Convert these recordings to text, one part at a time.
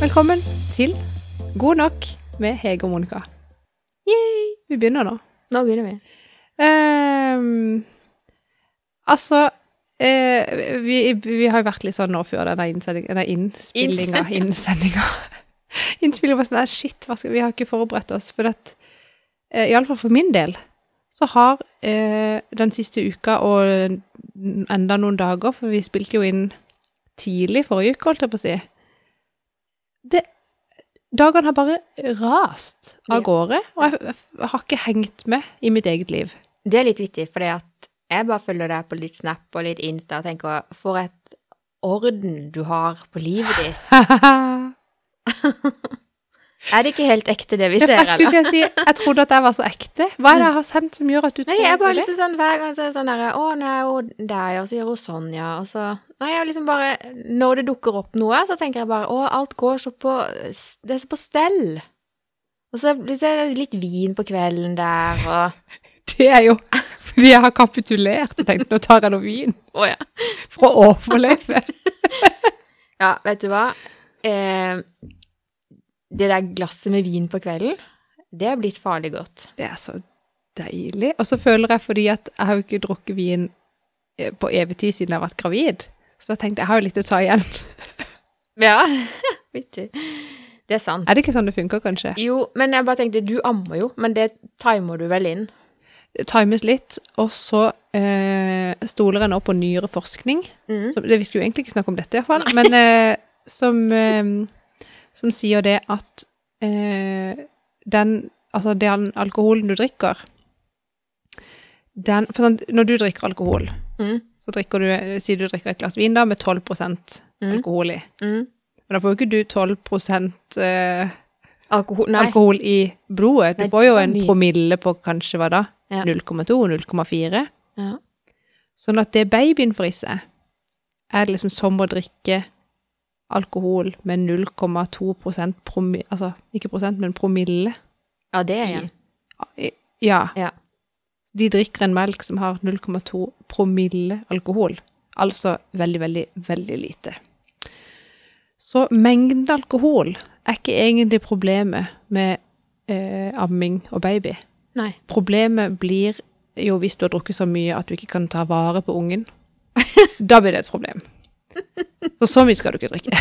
Velkommen til God nok med Hege og Monica. Yay! Vi begynner nå. Nå begynner vi. Ehm, altså eh, vi, vi har jo vært litt sånn nå før denne innsendinga Innspillinga. Innsendinga. Innspillinga var sånn der, Shit, hva skal, vi har ikke forberedt oss. For at eh, Iallfall for min del så har eh, den siste uka og enda noen dager, for vi spilte jo inn tidlig forrige uke, holdt jeg på å si det, Dagene har bare rast av Ja. gårde, og jeg, jeg har ikke hengt med i mitt eget liv. Det er litt vittig, fordi at jeg bare følger deg på litt Snap og litt Insta og tenker for et orden du har på livet ditt. Er det ikke helt ekte det vi Ja, for ser, jeg skulle eller? til å si, jeg trodde at jeg var så ekte. Hva er det jeg har sendt som gjør at du Nei, jeg er bare det? liksom sånn hver gang så er jeg sånn derre Å, nå er hun der, og så gjør hun sånn, ja, og så Nei, jeg er liksom bare Når det dukker opp noe, så tenker jeg bare Å, alt går så på Det er så på stell. Og så så er det litt vin på kvelden der, og Det er jo fordi jeg har kapitulert og tenkt nå tar jeg noe vin Å ja. for å overleve. Ja, vet du hva? Eh, det der glasset med vin på kvelden, det er blitt farlig godt. Det er så deilig. Og så føler jeg fordi at jeg har jo ikke drukket vin eh, på evig tid siden jeg har vært gravid. Så da tenkte jeg jeg har jo litt å ta igjen. Ja, vittig. Det er sant. Er det ikke sånn det funker, kanskje? Jo, men jeg bare tenkte, du ammer jo, men det timer du vel inn. Det Times litt, og så eh, stoler jeg nå på nyere forskning. Mm. som, det, Vi skulle jo egentlig ikke snakke om dette, iallfall. Men eh, som, eh, som sier det at eh, den Altså, den alkoholen du drikker den, for sånn, Når du drikker alkohol, Mm. så drikker du Sier du drikker et glass vin da med 12 alkohol i. Mm. Men da får jo ikke du 12 eh, Alkohol, nei. alkohol i blodet. Du Nei, får jo det er en mye. promille på kanskje hva da? Ja. 0,2-0,4. Ja. Sånn at det babyen får i seg, er liksom som å drikke alkohol med 0,2 promille Altså ikke prosent, men promille. ja, det er igjen. Ja. Ja. De drikker en melk som har 0,2 promille alkohol. Altså veldig, veldig, veldig lite. Så mengden alkohol er ikke egentlig problemet med eh, amming og baby. Nei. Problemet blir jo hvis du har drukket så mye at du ikke kan ta vare på ungen. Da blir det et problem. Så så mye skal du ikke drikke.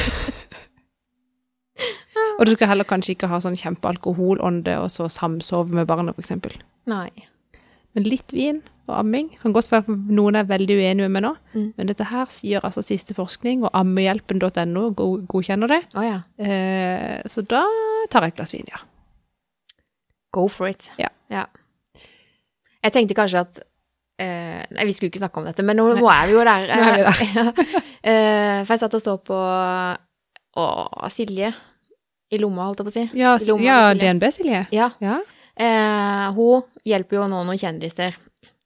Og du skal heller kanskje ikke ha sånn kjempealkoholånde og så samsove med barnet, f.eks. Nei. Men litt vin og amming kan godt være for noen er veldig uenige med meg nå, Mm. men dette her sier altså siste forskning, og ammehjelpen.no go- godkjenner det. Å ja. Eh, så da tar jeg et glass vin, ja. Go for it. Ja. Jeg tenkte kanskje at eh, Nei, vi skulle ikke snakke om dette, men nå, nå er vi jo der. Nå er vi der. Ja. Eh, for jeg satt og så på å, Silje i lomma, holdt jeg på å si. Ja, s- Lomma, ja Silje. DNB, Silje. Ja. Ja. Eh, hun hjelper jo nå noen kjendiser.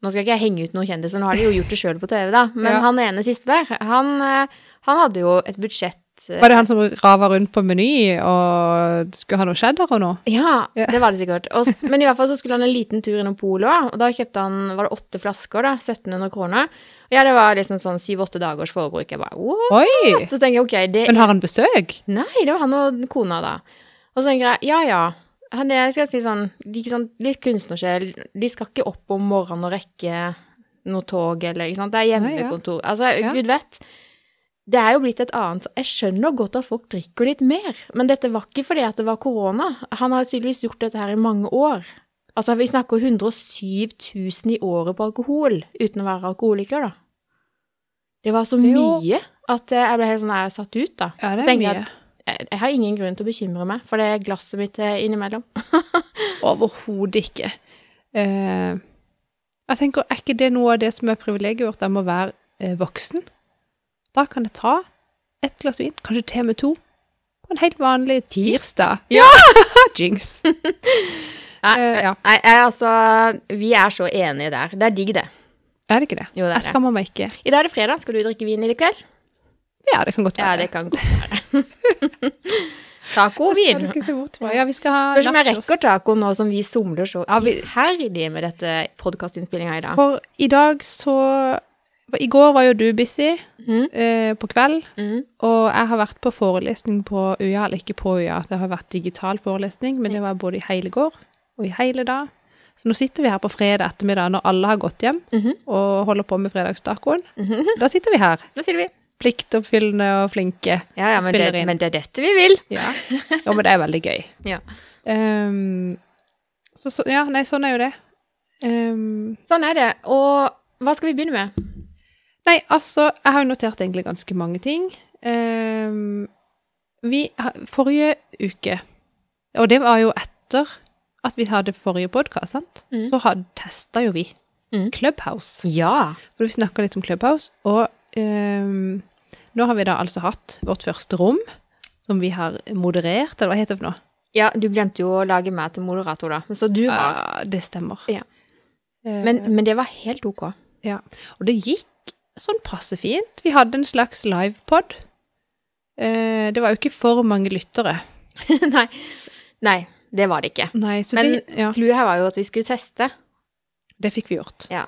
Nå skal ikke jeg henge ut noen kjendiser, nå har de jo gjort det sjøl på TV, da. Men Ja. han ene siste der, han, eh, han hadde jo et budsjett eh, Var det han som rava rundt på Meny og skulle ha noe cheddar og noe? Ja, Ja. det var det sikkert. Og, s- men i hvert fall så skulle han en liten tur innom Polo, og da kjøpte han var det åtte flasker, da, 1700 kroner. Og ja, det var liksom sånn syv-åtte dagers forbruk. Jeg bare, what? Oi! Så tenker jeg, ok, det Men har han besøk? Nei, det var han og kona, da. Og så tenker jeg, ja ja. Han er skal jeg si sånn, de, ikke sant, litt kunstnersjel. De skal ikke opp om morgenen og rekke noe tog, eller ikke sant. Det Nei, er ja. hjemmekontor. Altså, Ja. gud vet. Det er jo blitt et annet Jeg skjønner godt at folk drikker litt mer, men dette var ikke fordi at det var korona. Han har tydeligvis gjort dette her i mange år. Altså, vi snakker 107 000 i året på alkohol, uten å være alkoholiker, da. Det var så Jo. mye at eh, jeg ble helt sånn her satt ut, da Ja, det er tenker jeg jeg, jeg har ingen grunn til å bekymre meg, for det er glasset mitt eh, innimellom. Overhodet ikke. Eh, jeg tenker, er ikke det noe av det som er privilegiet vårt, det med å være eh, voksen? Da kan jeg ta et glass vin, kanskje til med to, på en helt vanlig tirsdag. Ja! Jinx. Nei, Eh, ja. nei, jeg, altså, vi er så enige der. Det er digg, det. Er det ikke det? Jo, det er Jeg det. skammer meg ikke. I dag er det fredag. Skal du drikke vin i kveld? Ja, det kan godt Ja, være. det kan godt være. Taco og Det skal vin. du ikke se bort fra. Ja, vi skal ha Spørs om jeg nachos. rekker taco nå som vi somler så Ja, vi- iherdig med dette podkastinnspillinga i dag. For i dag så I går var jo du busy Mm, eh, på kveld, mm. og jeg har vært på forelesning på UiA, eller ikke på UiA, det har vært digital forelesning, men det var både i hele går og i hele dag. Så nå sitter vi her på fredag ettermiddag når alle har gått hjem Mhm. og holder på med fredagstacoen. Mm-hmm. Da sitter vi her, Da sier vi. pliktoppfyllende og flinke. Ja, ja, men Spiller det, inn. men det er dette vi vil. Ja, jo, men det er veldig gøy. Ja. Ehm, så, så, ja, nei, sånn er jo det. Ehm, Sånn er det. Og hva skal vi begynne med? nei, altså, jeg har jo notert egentlig ganske mange ting. Ehm, vi, ha- forrige uke, og det var jo etter at vi hadde forrige podkast, sant? Mm. Så had, testa jo vi Mm. Clubhouse. Ja. For vi snakka litt om Clubhouse, og ehm, nå har vi da altså hatt vårt første rom, som vi har moderert, eller hva heter det for noe? Ja, du glemte jo å lage meg til moderator, da. Så du var Ja, det stemmer. Ja. Eh, men, men det var helt OK. ja. Og det gikk sånn passe fint. Vi hadde en slags livepod. Eh, det var jo ikke for mange lyttere. Nei. Nei, det var det ikke. Nei, så Men- det, ja, Clouet her var jo at vi skulle teste. det fikk vi gjort. Ja.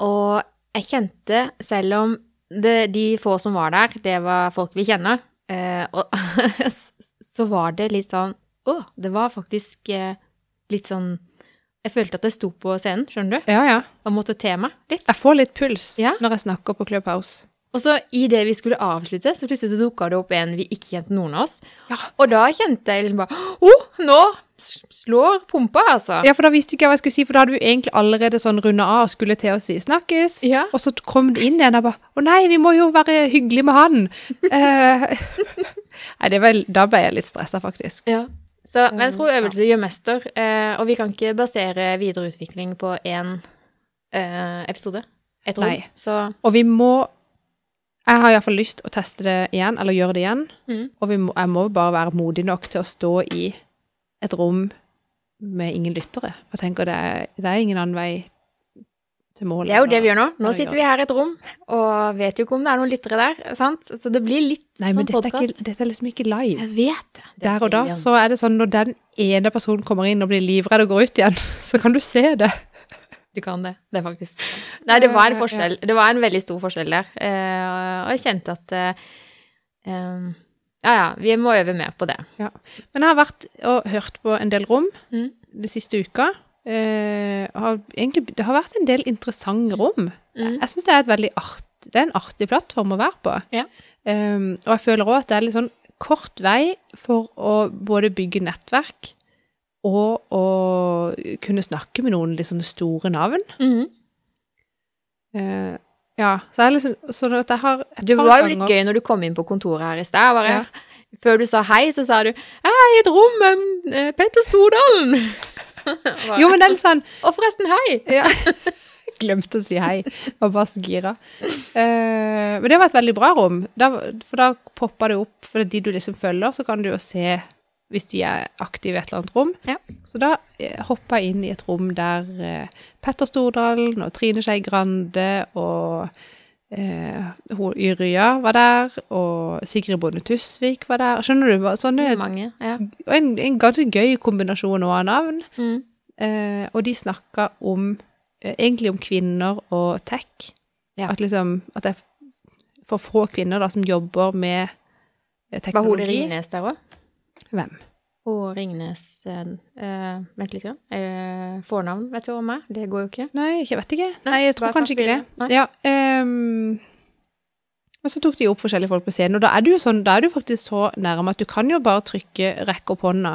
Og jeg kjente, selv om det, de få som var der, det var folk vi kjenner, eh, og, s- så var det litt sånn Å, det var faktisk eh, litt sånn Jeg følte at jeg sto på scenen, skjønner du, Ja, ja. og måtte te meg litt. Jeg får litt puls Ja. når jeg snakker på Clubhouse. Og så i det vi skulle avslutte, så plutselig så dukka det opp en vi ikke kjente noen av oss. Ja. Og da kjente jeg liksom bare Å, nå s- slår pumpa, altså. Ja, for da visste ikke jeg hva jeg skulle si, for da hadde vi egentlig allerede sånn runda av og skulle til å si 'snakkes', Ja. og så kom det inn igjen, og jeg bare 'Å nei, vi må jo være hyggelige med han'. Eh, nei, det var, da ble jeg litt stressa, faktisk. Ja. Så, men Eh, jeg tror øvelse gjør mester, eh, og vi kan ikke basere videre utvikling på én eh, episode. Jeg tror. Nei. Så Og vi må Jeg har iallfall lyst å teste det igjen, eller gjøre det igjen. Mhm. Og vi må, jeg må bare være modig nok til å stå i et rom med ingen lyttere. Jeg tenker det er, det er ingen annen vei til målet. det er jo det vi gjør nå. Nå Ja, sitter ja. vi her i et rom, og vet jo ikke om det er noen lyttere der, sant? Så det blir litt Nei, men sånn dette er, podkast. ikke, dette er liksom ikke live. Jeg vet det. det. er Der og da veldig så er det sånn når den ene personen kommer inn og blir livredd og går ut igjen, så kan du se det. Du kan det. Det er faktisk Nei, det var en forskjell. Det var en veldig stor forskjell der. Eh, og jeg kjente at eh, eh, Ja, ja, vi må øve mer på det. Men jeg har vært og hørt på en del rom Mm. de siste uka. Eh, har egentlig, det har vært en del interessante rom. Jeg, Mm. jeg syns det er et veldig art, det er en artig plattform å være på. Ja. Ehm, og jeg føler òg at det er litt sånn kort vei for å både bygge nettverk og å kunne snakke med noen litt sånne store navn. Mhm. Eh, ja, så jeg liksom Sånn at jeg har et Det par var jo litt ganger- gøy når du kom inn på kontoret her i sted. Bare, Ja. Før du sa hei, så sa du 'Hei, et rom med eh, Petter Stordalen'. Jo, men det er litt sånn Og forresten, hei! Ja. Glemte å si hei. Var bare så gira. Eh, men det var et veldig bra rom. Da, for da poppa det opp For de du liksom følger, så kan du jo se hvis de er aktive i et eller annet rom. Ja. Så da eh, hoppa jeg inn i et rom der eh, Petter Stordalen og Trine Skei Grande og eh, hun Yrja var der, og Sigrid Bonde Tusvik var der. Skjønner du? Bare Sånne, Mange. Ja. og en, en ganske gøy kombinasjon også av navn. Mm. Eh, og de snakka om eh, egentlig om kvinner og tech. Ja. At liksom at det er for få kvinner da som jobber med eh, Var hun teknologi. Ringnes der òg? Hvem? Hun Ringnes eh, eh, Vent litt. grann. Eh, fornavn vet du om meg? Det går jo ikke. Nei, jeg vet ikke. Nei, Nei, jeg tror bare snakk kanskje ikke det. videre. Nei. Ja, ehm, men så tok de opp forskjellige folk på scenen, og da er du jo sånn, da er du faktisk så nærme at du kan jo bare trykke 'rekk opp hånda',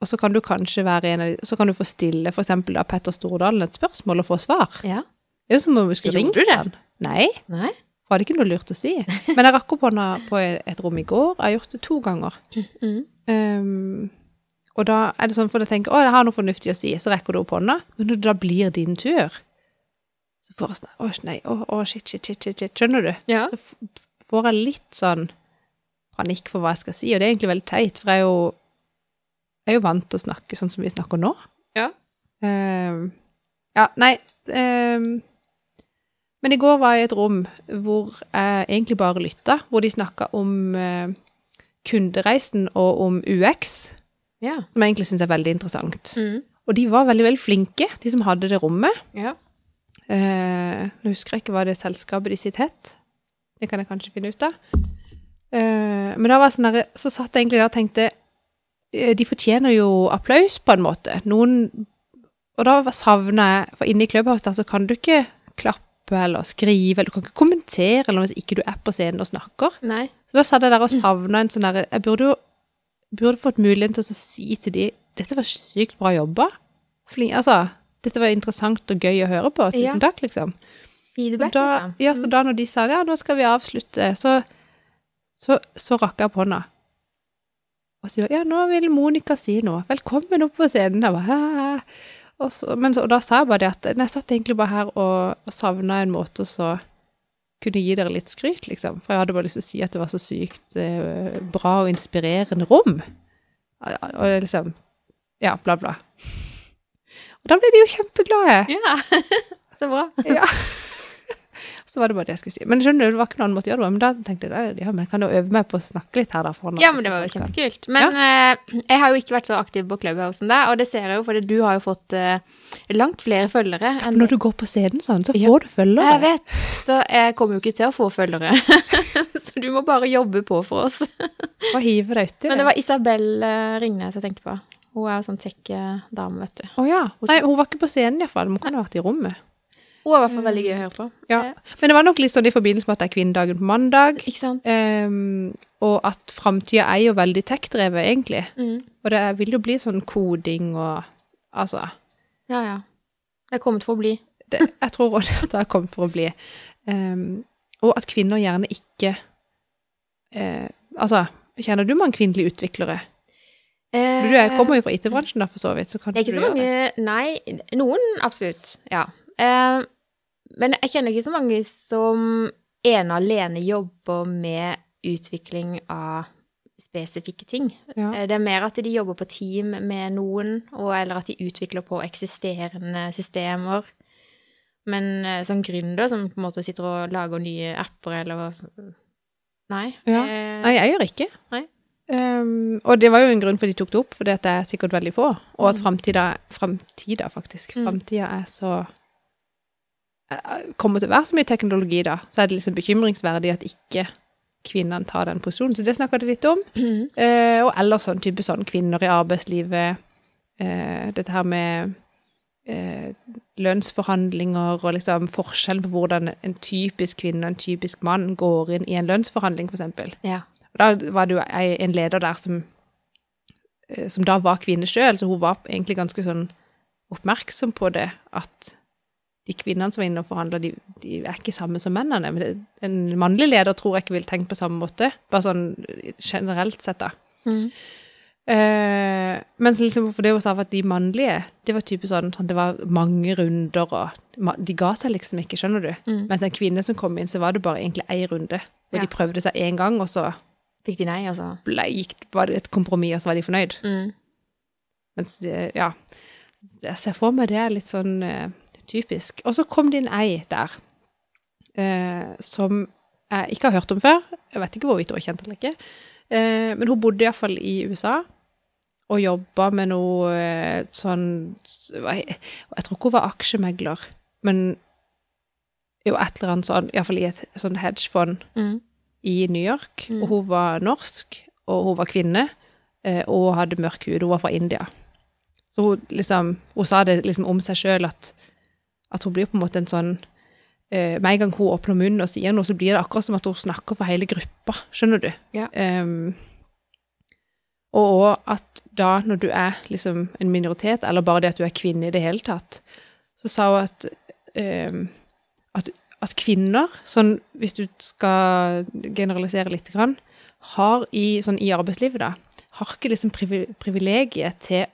og så kan du kanskje være en av de Så kan du få stille for eksempel da Petter Stordalen et spørsmål og få svar. Ja. Det er jo som om vi skulle Gjorde ringt du det? han. Nei. Nei? For jeg hadde ikke noe lurt å si. Men jeg rakk opp hånda på et rom i går. Jeg har gjort det to ganger. Mm. Ehm, og da er det sånn, for jeg tenker å, jeg har noe fornuftig å si, så rekker du opp hånda. Men når det da blir din tur, så får jeg sånn Å, nei, å, å, shit, shit, shit, shit, shit. Skjønner du? Ja. Så f- får jeg litt sånn panikk for hva jeg skal si, og det er egentlig veldig teit, for jeg er jo, jeg er jo vant til å snakke sånn som vi snakker nå. Ja. Ehm, ja, nei ehm, Men i går var jeg i et rom hvor jeg egentlig bare lytta, hvor de snakka om eh, kundereisen og om UX, Ja. som jeg egentlig syns er veldig interessant. Mm. Og de var veldig, veldig flinke, de som hadde det rommet. ja. eh, Nå husker jeg ikke hva det selskapet de sitt het. Det kan jeg kanskje finne ut av. Eh, men da var jeg sånn der, så satt jeg egentlig der og tenkte eh, De fortjener jo applaus, på en måte. Noen Og da savna jeg For inne i Clubhouse der så kan du ikke klappe eller skrive, eller du kan ikke kommentere eller hvis ikke du er på scenen og snakker. Nei. Så da satt jeg der og savna en sånn derre Jeg burde jo burde fått muligheten til å si til de Dette var sykt bra jobba. Flink, altså, dette var interessant og gøy å høre på. Tusen Ja. takk, liksom. Så Feedback, da, liksom. ja, så da når de sa ja, nå skal vi avslutte, så, så, så rakk jeg opp hånda. Og så ja, nå vil Monica si noe. Velkommen opp på scenen. Jeg bare, «Hæ?» og, så, men, så, og da sa jeg bare det at nei, jeg satt egentlig bare her og, og savna en måte å så kunne gi dere litt skryt, liksom. For jeg hadde bare lyst til å si at det var så sykt eh, bra og inspirerende rom. Og, og liksom Ja, bla, bla. Og da ble de jo kjempeglade. Ja. så bra. Så var det bare det jeg skulle si. Men skjønner du, det var ikke noen annen måte å gjøre det på. Men da tenkte jeg, ja, men jeg kan jo øve meg på å snakke litt her da foran. Ja, men det var jo kjempekult. Men eh, jeg har jo ikke vært så aktiv på Clubhouse som deg, og det ser jeg jo fordi du har jo fått eh, langt flere følgere enn Når du går på scenen sånn, så Ja. får du følgere. Jeg vet, så jeg kommer jo ikke til å få følgere. så du må bare jobbe på for oss. Og hiver deg uti Men det var Isabel eh, Ringnes jeg tenkte på. Hun er jo sånn tech-dame, vet du. Å ja. Nei, hun var ikke på scenen iallfall. Hun kan ha vært i rommet. Hun er i hvert fall veldig gøy å høre på. Ja. Ja. Men det var nok litt sånn i forbindelse med at det er kvinnedagen på mandag, Ikke sant? ehm, og at framtida er jo veldig tech-drevet, egentlig. Mm. Og det vil jo bli sånn koding og Altså. Ja, ja. Jeg kommer til å bli. det, jeg tror også at det har kommet for å bli. Ehm, og at kvinner gjerne ikke eh, Altså, kjenner du mange kvinnelige utviklere? Du er, kommer jo fra IT-bransjen, da, for så vidt. Så kan Eh. Det er ikke du så gjøre mange Nei, noen absolutt. Ja. Eh, men jeg kjenner ikke så mange som ene og alene jobber med utvikling av spesifikke ting. Ja. Eh, Det er mer at de jobber på team med noen, og, eller at de utvikler på eksisterende systemer. Men eh, som gründer, som på en måte sitter og lager nye apper eller Nei. Ja. eh, Nei, jeg gjør ikke. Nei. Ehm, og det var jo en grunn for de tok det opp, for det er sikkert veldig få. Og at framtida, framtida faktisk, Mm. framtida er så eh, Kommer til å være så mye teknologi, da, så er det liksom bekymringsverdig at ikke kvinnene tar den posisjonen. Så det snakka de litt om. Mm. Eh, og ellers sånn type sånn kvinner i arbeidslivet, eh, dette her med eh, lønnsforhandlinger og liksom forskjellen på hvordan en typisk kvinne og en typisk mann går inn i en lønnsforhandling, for eksempel. ja. Og Da var det jo ei- en leder der som, eh, som da var kvinne sjøl, så hun var egentlig ganske sånn oppmerksom på det at de kvinnene som var inne og forhandla, de, de er ikke samme som mennene. Men det, en mannlig leder tror jeg ikke vil tenke på samme måte, bare sånn generelt sett, da. Mm. Eh, mens liksom, for det hun sa var at de mannlige, det var typisk sånn, sånn det var mange runder, og ma- de ga seg liksom ikke, skjønner du? Mm. Mens en kvinne som kom inn, så var det bare egentlig ei runde. Og Ja. de prøvde seg én gang, og så Fikk de nei, altså? ble, gikk, var det et kompromiss, og så var de fornøyd. Mm. Mens, eh, ja, jeg ser for meg det er litt sånn eh, typisk. Og så kom det inn ei der, eh, som jeg ikke har hørt om før. Jeg vet ikke hvorvidt hun er kjent eller ikke. Eh, men hun bodde iallfall i USA. Og jobba med noe eh, sånn hva he- Jeg tror ikke hun var aksjemegler, men jo, et eller annet sånn, iallfall i et sånn hedgefond Mm. i New York, Mm. og hun var norsk, og hun var kvinne, eh, og hadde mørk hud. Hun var fra India. Så hun, liksom, hun sa det liksom om seg sjøl at, at hun blir på en måte en sånn eh, Med en gang hun åpner munnen og sier noe, så blir det akkurat som at hun snakker for hele gruppa. Skjønner du? Ja. Em, og også at da, når du er liksom en minoritet, eller bare det at du er kvinne i det hele tatt, så sa hun at ehm, em, at, at kvinner, sånn, hvis du skal generalisere litt, grann, har i, sånn, i arbeidslivet da, har ikke liksom privi- privilegiet til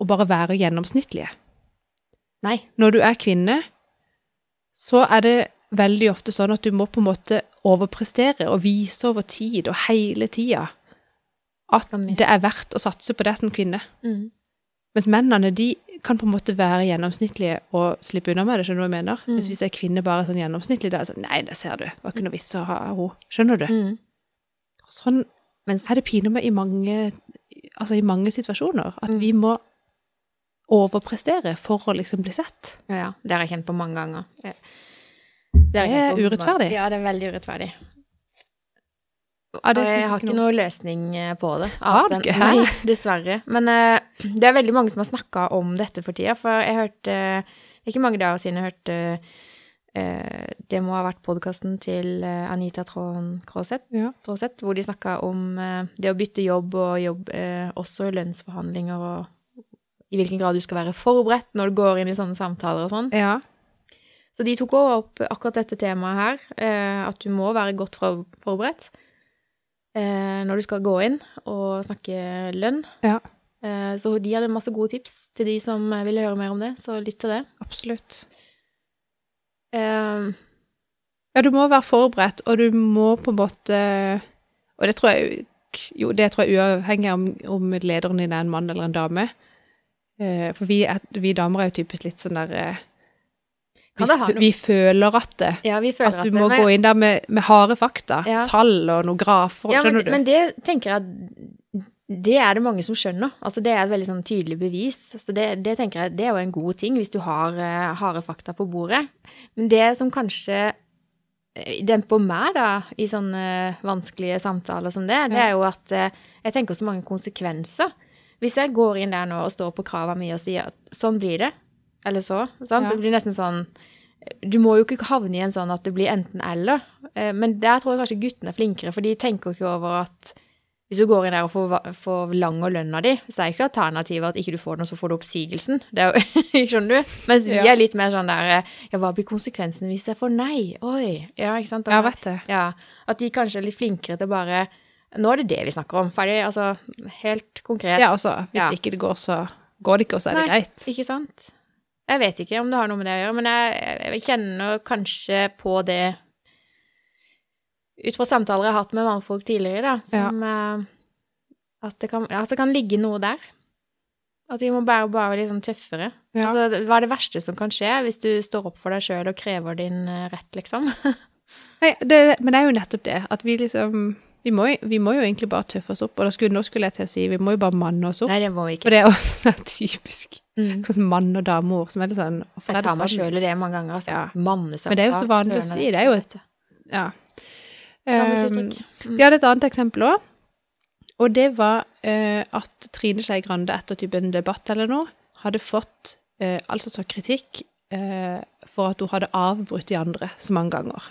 å bare være gjennomsnittlige. Nei. Når du er kvinne, så er det veldig ofte sånn at du må på en måte overprestere og vise over tid og hele tida at Skal med. det er verdt å satse på deg som kvinne. Mm. Mens mennene, de kan på en måte være gjennomsnittlige og slippe unna med det, skjønner du hva jeg mener? Mm. Mens hvis ei kvinne bare er sånn gjennomsnittlig, da er det sånn Nei, det ser du, hva kunne vits å ha henne? Skjønner du? Mm. Sånn Mens er det pinlig i mange Altså i mange situasjoner. At Mm. vi må overprestere for å liksom bli sett. Ja, ja. Det har jeg kjent på mange ganger. Ja. Det, har jeg Det er kjent på mange urettferdig. ganger. Ja, det er veldig urettferdig. Ja, det Og synes jeg har ikke noe- noe løsning eh, på det. Har du Annet ikke? enn- Nei, dessverre. Men eh, det er veldig mange som har snakka om dette for tida, for jeg hørte eh, Det er ikke mange dager siden jeg hørte eh, Det må ha vært podkasten til eh, Anita Trond Kroseth, Ja. Troseth, hvor de snakka om eh, det å bytte jobb og jobb, eh, også lønnsforhandlinger og i hvilken grad du skal være forberedt når du går inn i sånne samtaler og sånn. Ja. Så de tok også opp akkurat dette temaet her, eh, at du må være godt for- forberedt eh, når du skal gå inn og snakke lønn. Ja. Eh, så de hadde masse gode tips til de som eh, ville høre mer om det, så lytt til det. Absolutt. Eh, Ja, du må være forberedt, og du må på en måte Og det tror jeg jo, det tror jeg uavhengig om, om lederen din er en mann eller en dame. Eh, For vi, er, vi damer er jo typisk litt sånn der eh, Kan vi, det ha fø- noe- vi føler at det. ja, vi føler At du må men- gå inn der med, med harde fakta. Ja. Tall og noen grafer. ja, men, skjønner du? men det tenker jeg at det er det mange som skjønner. Altså, det er et veldig sånn tydelig bevis. Så det, det tenker jeg det er jo en god ting hvis du har eh, harde fakta på bordet. Men det som kanskje eh, demper meg da, i sånne eh, vanskelige samtaler som det, det er jo at eh, jeg tenker så mange konsekvenser. Hvis jeg går inn der nå og står på krava mi og sier at sånn blir det, eller så, Ja. sant? Det blir nesten sånn du må jo ikke havne i en sånn at det blir enten-eller. Men der tror jeg kanskje guttene er flinkere, for de tenker ikke over at hvis du går inn der og får, va- får lang og lønna di, så er ikke alternativet at ikke du får den, og så får du oppsigelsen. Det er jo, skjønner du? Mens vi Ja. er litt mer sånn der Ja, hva blir konsekvensen hvis jeg får nei? Oi. Ja, ikke sant? Da- Ja, vet det. ja, At de kanskje er litt flinkere til bare Nå er det det vi snakker om. Ferdig. Altså helt konkret. Ja, altså, hvis Ja. ikke det går, så går det ikke, og så er det Nei, greit. Ikke sant? Jeg vet ikke om det har noe med det å gjøre, men jeg, jeg kjenner kanskje på det ut fra samtaler jeg har hatt med mannfolk tidligere, da, som eh, at, det kan, at det kan ligge noe der. At vi må bare, bare være litt sånn tøffere. Ja. Altså, hva er det verste som kan skje hvis du står opp for deg sjøl og krever din eh, rett, liksom? Nei, det, men det er jo nettopp det, at vi liksom Vi må, jo- vi må jo egentlig bare tøffe oss opp, og da skulle, nå skulle jeg til å si vi må jo bare manne oss opp. Nei, det må vi For ikke. det er jo sånn der typisk Mm. sånn mann- og dameord som er litt sånn hvorfor er Jeg det tar meg sånn? sjøl i det mange ganger. Altså. Ja. Manne seg Men det er jo opp, så vanlig å søren, si, det er jo et- vet du. Ja. Gammelt Um, uttrykk. vi hadde et annet eksempel òg, og det var eh, at Trine Skei Grande etter type en debatt eller noe, hadde fått eh, altså så kritikk eh, for at hun hadde avbrutt de andre så mange ganger.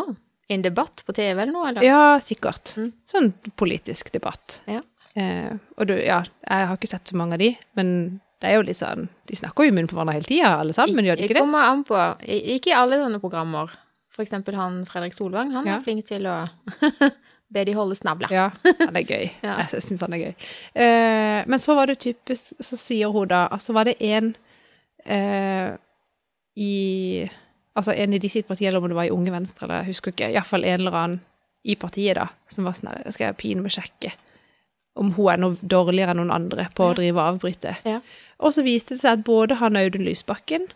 ehm, Å, I en debatt på TV eller noe, eller? Ja, sikkert. Mm. Sånn politisk debatt. Ja. Eh, og du, ja, jeg har ikke sett så mange av de, men det er jo litt sånn De snakker jo i munnen på hverandre hele tida, alle sammen, men gjør de ikke det? kommer an på. I- Ikke i alle sånne programmer. For eksempel han Fredrik Solvang, han Ja. er flink til å be de holde snabla. Ja, han er gøy. Ja. Jeg syns han er gøy. Eh, men så var det typisk Så sier hun da Altså var det en eh, i Altså en i de sitt parti, eller om det var i Unge Venstre, eller jeg husker ikke. Iallfall en eller annen i partiet, da, som var sånn her Skal jeg pine meg sjekke om hun er noe dårligere enn noen andre på å drive og avbryte? Ja. Og så viste det seg at både han Audun Lysbakken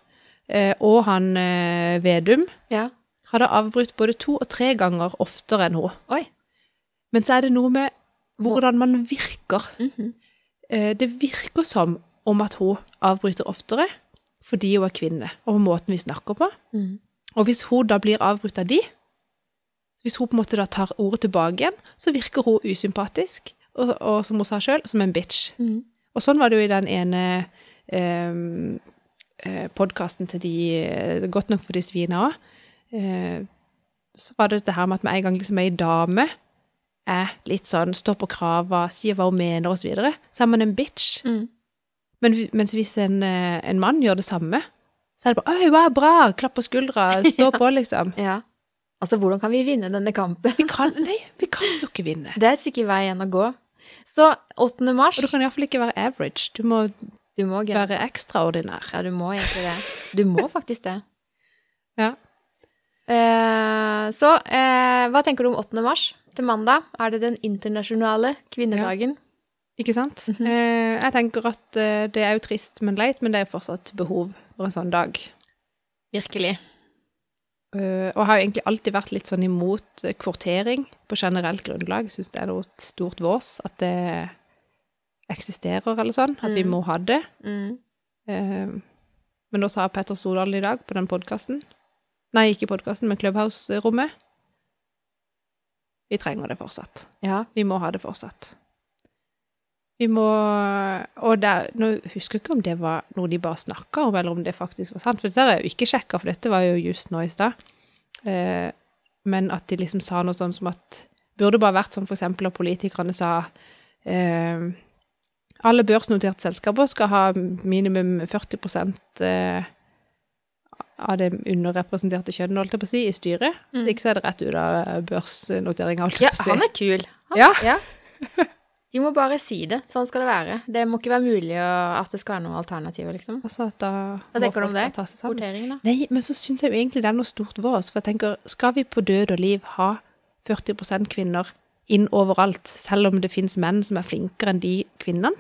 eh, og han eh, Vedum Ja. hadde avbrutt både to og tre ganger oftere enn hun. Oi. Men så er det noe med hvordan man virker. Mhm. Eh, Det virker som om at hun avbryter oftere fordi hun er kvinne, og måten vi snakker på. Mhm. Og hvis hun da blir avbrutt av de, hvis hun på en måte da tar ordet tilbake igjen, så virker hun usympatisk, og, og som hun sa sjøl, som en bitch. Mhm. Og sånn var det jo i den ene um, podkasten til de eh, Godt nok for de svina òg. så var det dette her med at med en gang liksom ei dame er litt sånn, står på krava, sier hva hun mener osv., så, videre, så er man en bitch. Mhm. Men, vi- mens hvis en, eh, en mann gjør det samme, så er det bare 'Oi, hva bra!' Klapp på skuldra, stå på, liksom. ja. Altså, hvordan kan vi vinne denne kampen? Vi kan, nei, vi kan jo ikke vinne. Det er et stykke vei igjen å gå. Så 8. mars Og du kan iallfall ikke være average. Du må Du må gøy. være ekstraordinær. Ja, du må egentlig det. Du må faktisk det. Ja. Eh, så eh, hva tenker du om 8. mars? Til mandag er det den internasjonale kvinnedagen. Ikke sant? eh, jeg tenker at eh, det er jo trist, men leit, men det er fortsatt behov for en sånn dag. Virkelig. Eh, og jeg har jo egentlig alltid vært litt sånn imot eh, kvortering på generelt grunnlag. Syns det er noe stort vås at det eksisterer, eller sånn. At vi Mm. må ha det. Mm. Eh, men da sa Petter Stordalen i dag på den podkasten Nei, ikke podkasten, men Clubhouse-rommet. Vi trenger det fortsatt. Ja. Vi må ha det fortsatt. Vi må Og der, nå husker jeg ikke om det var noe de bare snakka om, eller om det faktisk var sant. For dette har jeg jo ikke sjekka, for dette var jo just nå i stad. Eh, men at de liksom sa noe sånn som at Burde bare vært sånn for eksempel at politikerne sa eh, alle børsnoterte selskaper skal ha minimum 40 eh, av det underrepresenterte kjønnet, holdt jeg på å si, i styret. Mm. Ikke så er det rett ut av børsnoteringa, holdt ja, jeg på å si. han er kul. Han, Ja. De må bare si det. Sånn skal det være. Det må ikke være mulig å, at det skal være noen alternativer, liksom. Altså at da Hva må tenker du om folk det? bare Ta seg sammen. Kvotering, da. Nei, men så syns jeg jo egentlig det er noe stort ved oss. For jeg tenker, skal vi på død og liv ha 40 kvinner inn overalt, selv om det fins menn som er flinkere enn de kvinnene?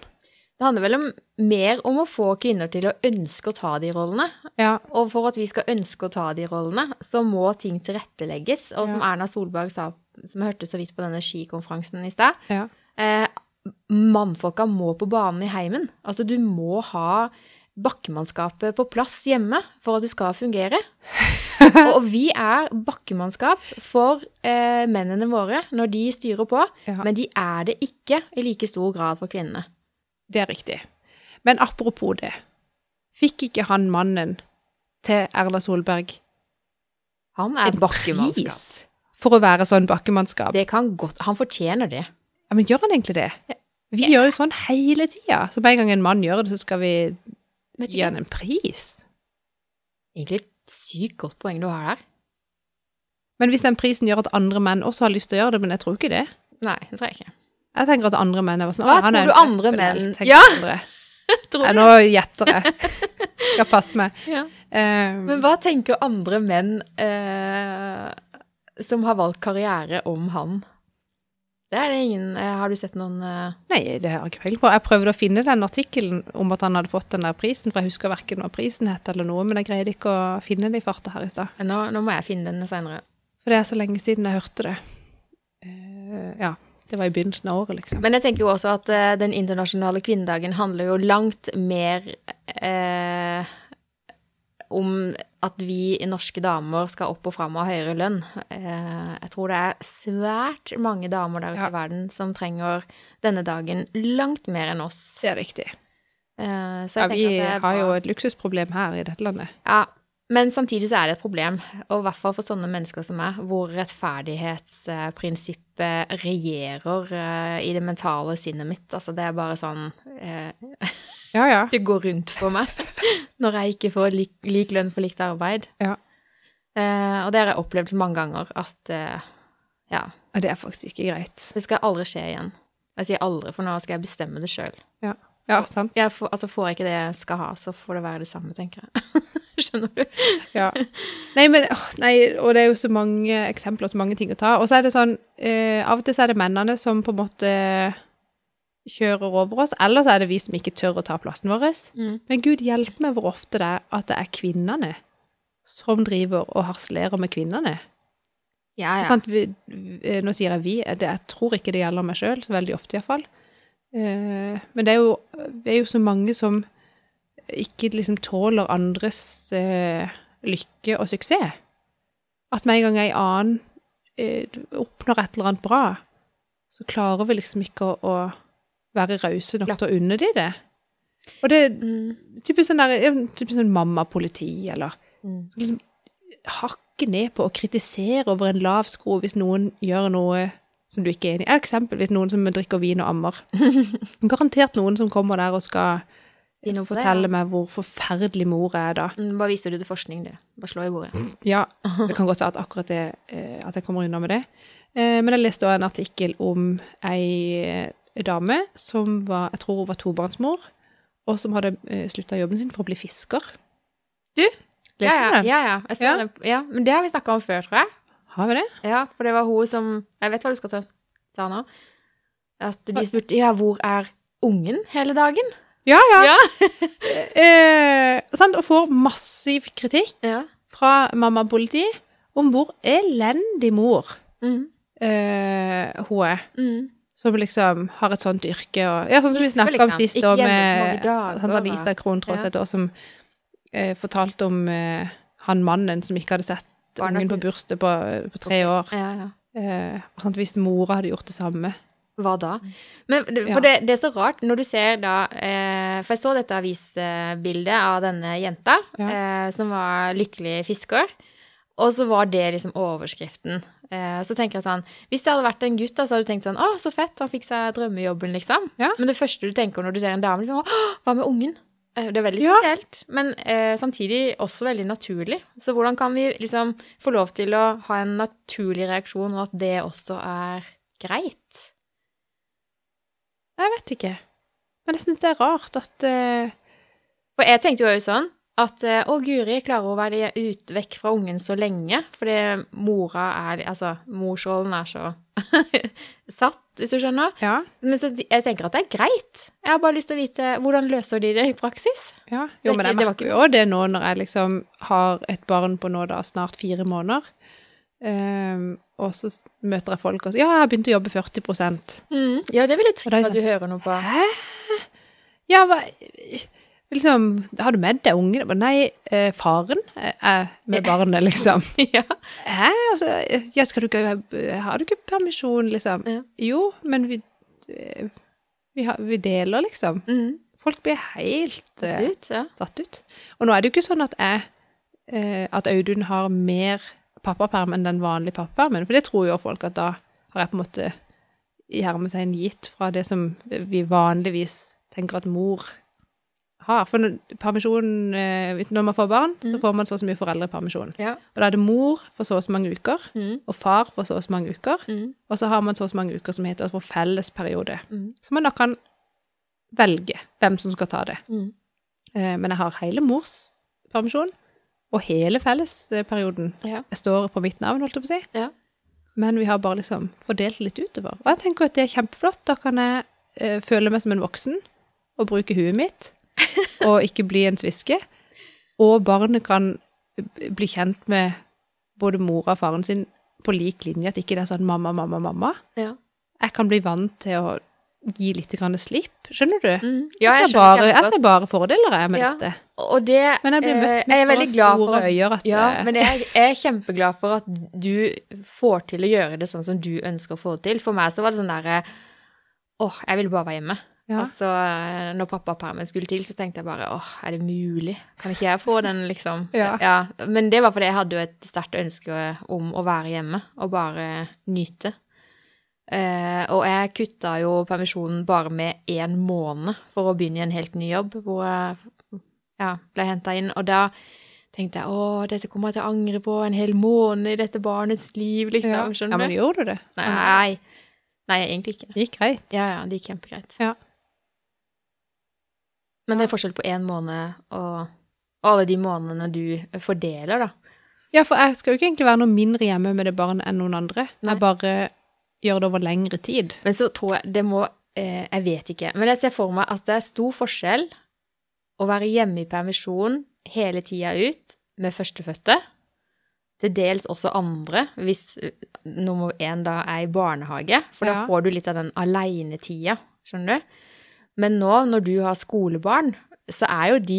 Det handler vel om, mer om å få kvinner til å ønske å ta de rollene. Ja. Og for at vi skal ønske å ta de rollene, så må ting tilrettelegges. Og som Ja. Erna Solberg sa, som jeg hørte så vidt på denne skikonferansen i stad, ja. eh, mannfolka må på banen i heimen. Altså, du må ha bakkemannskapet på plass hjemme for at du skal fungere. og vi er bakkemannskap for eh, mennene våre når de styrer på, Ja. men de er det ikke i like stor grad for kvinnene. Det er riktig. Men apropos det. Fikk ikke han mannen til Erla Solberg Han er en et bakkemannskap. pris for å være sånn bakkemannskap? Det kan godt Han fortjener det. Ja, men gjør han egentlig det? Vi gjør jo sånn hele tida. Så med en gang en mann gjør det, så skal vi Vet gi han en pris. Egentlig et sykt godt poeng du har der. Men hvis den prisen gjør at andre menn også har lyst til å gjøre det, men jeg tror ikke det. Nei, det tror jeg ikke. Jeg tenker at andre menn er bare sånn, Hva «Å, han tror er du en andre profesjonell», menn- tenker Ja! andre. Tror Nei, du? nå gjetter jeg. Skal passe meg. Ja. Ehm, Men hva tenker andre menn eh, som har valgt karriere, om han? Det er det ingen eh, Har du sett noen eh, nei, det har jeg ikke peiling på. Jeg prøvde å finne den artikkelen om at han hadde fått den der prisen, for jeg husker verken hva prisen het eller noe, men jeg greide ikke å finne det i farta her i stad. nå, nå må jeg finne den seinere. For det er så lenge siden jeg hørte det. Eh, ja, det var i begynnelsen av året, liksom. Men jeg tenker jo også at eh, den internasjonale kvinnedagen handler jo langt mer eh, om at vi norske damer skal opp og fram og ha høyere lønn. Eh, jeg tror det er svært mange damer der ute Ja. i verden som trenger denne dagen langt mer enn oss. Det er riktig. Eh, så Ja, jeg vi tenker at det er har jo bra. et luksusproblem her i dette landet. Ja, men samtidig så er det et problem, og i hvert fall for sånne mennesker som meg, hvor rettferdighetsprinsippet regjerer eh, i det mentale sinnet mitt. Altså, det er bare sånn eh, Ja, ja. Det går rundt for meg når jeg ikke får lik, lik lønn for likt arbeid. Ja. Eh, og det har jeg opplevd så mange ganger at eh, ja, Og det er faktisk ikke greit. det skal aldri skje igjen. Jeg sier aldri, for nå skal jeg bestemme det sjøl. Ja, sant. Altså, får jeg ikke det jeg skal ha, så får det være det samme, tenker jeg. Skjønner du? Ja. Nei, men, åh, nei, og det er jo så mange eksempler og så mange ting å ta. Og så er det sånn, eh, av og til så er det mennene som på en måte kjører over oss, eller så er det vi som ikke tør å ta plassen vår. Mm. Men Gud hjelpe meg hvor ofte det er at det er kvinnene som driver og harselerer med kvinnene. Ja, ja. Sant? Vi, eh, nå sier jeg vi, det, jeg tror ikke det gjelder meg sjøl, så veldig ofte iallfall. Eh, men det er, jo, det er jo så mange som ikke liksom tåler andres eh, lykke og suksess. At med en gang ei annen eh, oppnår et eller annet bra, så klarer vi liksom ikke å, å være rause nok til å unne de det. Og det er Mm. typisk sånn, der- ja, typisk sånn mamma-politi, eller Mm. hakke ned på og kritisere over en lav sko hvis noen gjør noe som du ikke er enig i. Eksempelvis noen som drikker vin og ammer. Garantert noen som kommer der og skal Si noe på det, fortelle ja. meg hvor forferdelig mor er da. Mm, Bare viser du til forskning, du. Bare slå i bordet. Ja, det kan godt være at akkurat det, eh, at jeg kommer unna med det. Eh, Men jeg leste også en artikkel om ei eh, dame som var, jeg tror hun var tobarnsmor, og som hadde slutta jobben sin for å bli fisker. Du? Leser du Liksom, ja, den? ja, ja. Jeg så Ja. det. ja. Men det har vi snakka om før, tror jeg. Har vi det? Ja, for det var hun som Jeg vet hva du skal ta sa nå. At de spurte ja, hvor er ungen hele dagen? Ja, ja. Ja. eh, sant? Og får massiv kritikk Ja. fra mamma politi om hvor elendig mor Mm, eh, hun er. mm. som liksom har et sånt yrke og Ja, sånn som vi Sist, vel, snakka om ikke sant? sist, Ikke da, hjemme med på mange dager, sånn Anita da. Krohntrås, Ja. ja. som eh, fortalte om eh, han mannen som ikke hadde sett Barna ungen på sine. bursdag på, eh, på tre år. Ja, ja. Eh, og sånn, hvis mora hadde gjort det samme Hva da? Men det, Mm. Ja. for det, det er så rart når du ser da eh, For jeg så dette avisbildet av denne jenta Ja. eh, som var lykkelig fisker. Og så var det liksom overskriften. Eh, så tenker jeg sånn Hvis det hadde vært en gutt, da, så hadde du tenkt sånn Å, så fett, han fikk seg drømmejobben, liksom. Ja. Men det første du tenker når du ser en dame, liksom Å, hva med ungen? Eh, Det er veldig Ja. spesielt, men eh, samtidig også veldig naturlig. Så hvordan kan vi liksom få lov til å ha en naturlig reaksjon, og at det også er greit? Nei, jeg vet ikke. Men jeg syns det er rart at eh, For jeg tenkte jo også sånn at eh, å, Guri klarer å være ute vekk fra ungen så lenge, fordi mora er Altså, morsrollen er så satt, hvis du skjønner. Ja. Men så jeg tenker at det er greit. Jeg har bare lyst til å vite hvordan løser de det i praksis? Ja, jo, Det er men jeg ikke- det var merker jo også det nå når jeg liksom har et barn på nå da snart fire måneder. Ehm, og så s- møter jeg folk og sier ja, jeg har begynt å jobbe 40 Ja, det vil jeg Og da tro er sånn- jeg Mm. at du hører noe på. Hæ? Ja, hva Liksom, har du med deg ungen? Nei, eh, faren er med Eh. barnet, liksom. ja. Hæ? Og så, ja, skal du ikke Har du ikke permisjon, liksom? Ja. Jo, men vi eh, vi, har, vi deler, liksom. Mm. Folk blir helt eh, Absolutt, ja. satt ut. Og nå er det jo ikke sånn at jeg eh, at Audun har mer pappaperm enn den vanlige pappapermen, for det tror jo folk at da har jeg på en måte i hermetegn gitt fra det som vi vanligvis tenker at mor har. For når, permisjon, eh, når man får barn, så Mhm. får man så og så mye foreldrepermisjon. ja. Og da er det mor for så og så mange uker, Mm. og far for så og så mange uker, Mm. og så har man så og så mange uker som heter for fellesperiode. Mhm. Så man da kan velge hvem som skal ta det. Mm. Eh, Men jeg har hele mors permisjon og hele fellesperioden. Ja. Jeg står på mitt navn, holdt jeg på å si. Ja. Men vi har bare liksom fordelt litt utover. Og jeg tenker at det er kjempeflott. Da kan jeg eh, føle meg som en voksen og bruke huet mitt, og ikke bli en sviske. Og barnet kan b- bli kjent med både mora og faren sin på lik linje, at ikke det er sånn mamma, mamma, mamma. Ja. Jeg kan bli vant til å gi litt grann slipp, skjønner du? Mm. Ja, Ja, jeg, ser skjønner bare, jeg kjempegodt. ser bare fordeler jeg med Ja. dette. Og det Men jeg blir eh, møtt jeg er med veldig så glad for store at øyer at Ja, eh, men jeg er kjempeglad for at du får til å gjøre det sånn som du ønsker å få det til. For meg så var det sånn derre Åh, jeg ville bare være hjemme. ja. Altså, når pappapermen skulle til, så tenkte jeg bare åh, er det mulig? Kan ikke jeg få den, liksom? Ja. Men det var fordi jeg hadde jo et sterkt ønske om å være hjemme og bare nyte. Eh, og jeg kutta jo permisjonen bare med én måned for å begynne i en helt ny jobb, hvor jeg ja, ble henta inn. Og da tenkte jeg å, dette kommer jeg til å angre på en hel måned i dette barnets liv, liksom. ja. ja, Skjønner men liksom, du? gjorde du det? Nei. Nei, egentlig ikke. Det gikk greit. Ja, ja, det gikk kjempegreit. Ja. Men det er forskjell på én måned og, og alle de månedene du fordeler, da. Ja, for jeg skal jo ikke egentlig være noe mindre hjemme med det barnet enn noen andre. Nei. Jeg bare gjør det over lengre tid. Men så tror jeg det må eh, Jeg vet ikke. Men jeg ser for meg at det er stor forskjell å være hjemme i permisjon hele tida ut med førstefødte, til dels også andre, hvis eh, nummer én da er i barnehage. For da Ja. får du litt av den aleinetida, skjønner du. Men nå, når du har skolebarn, så er jo de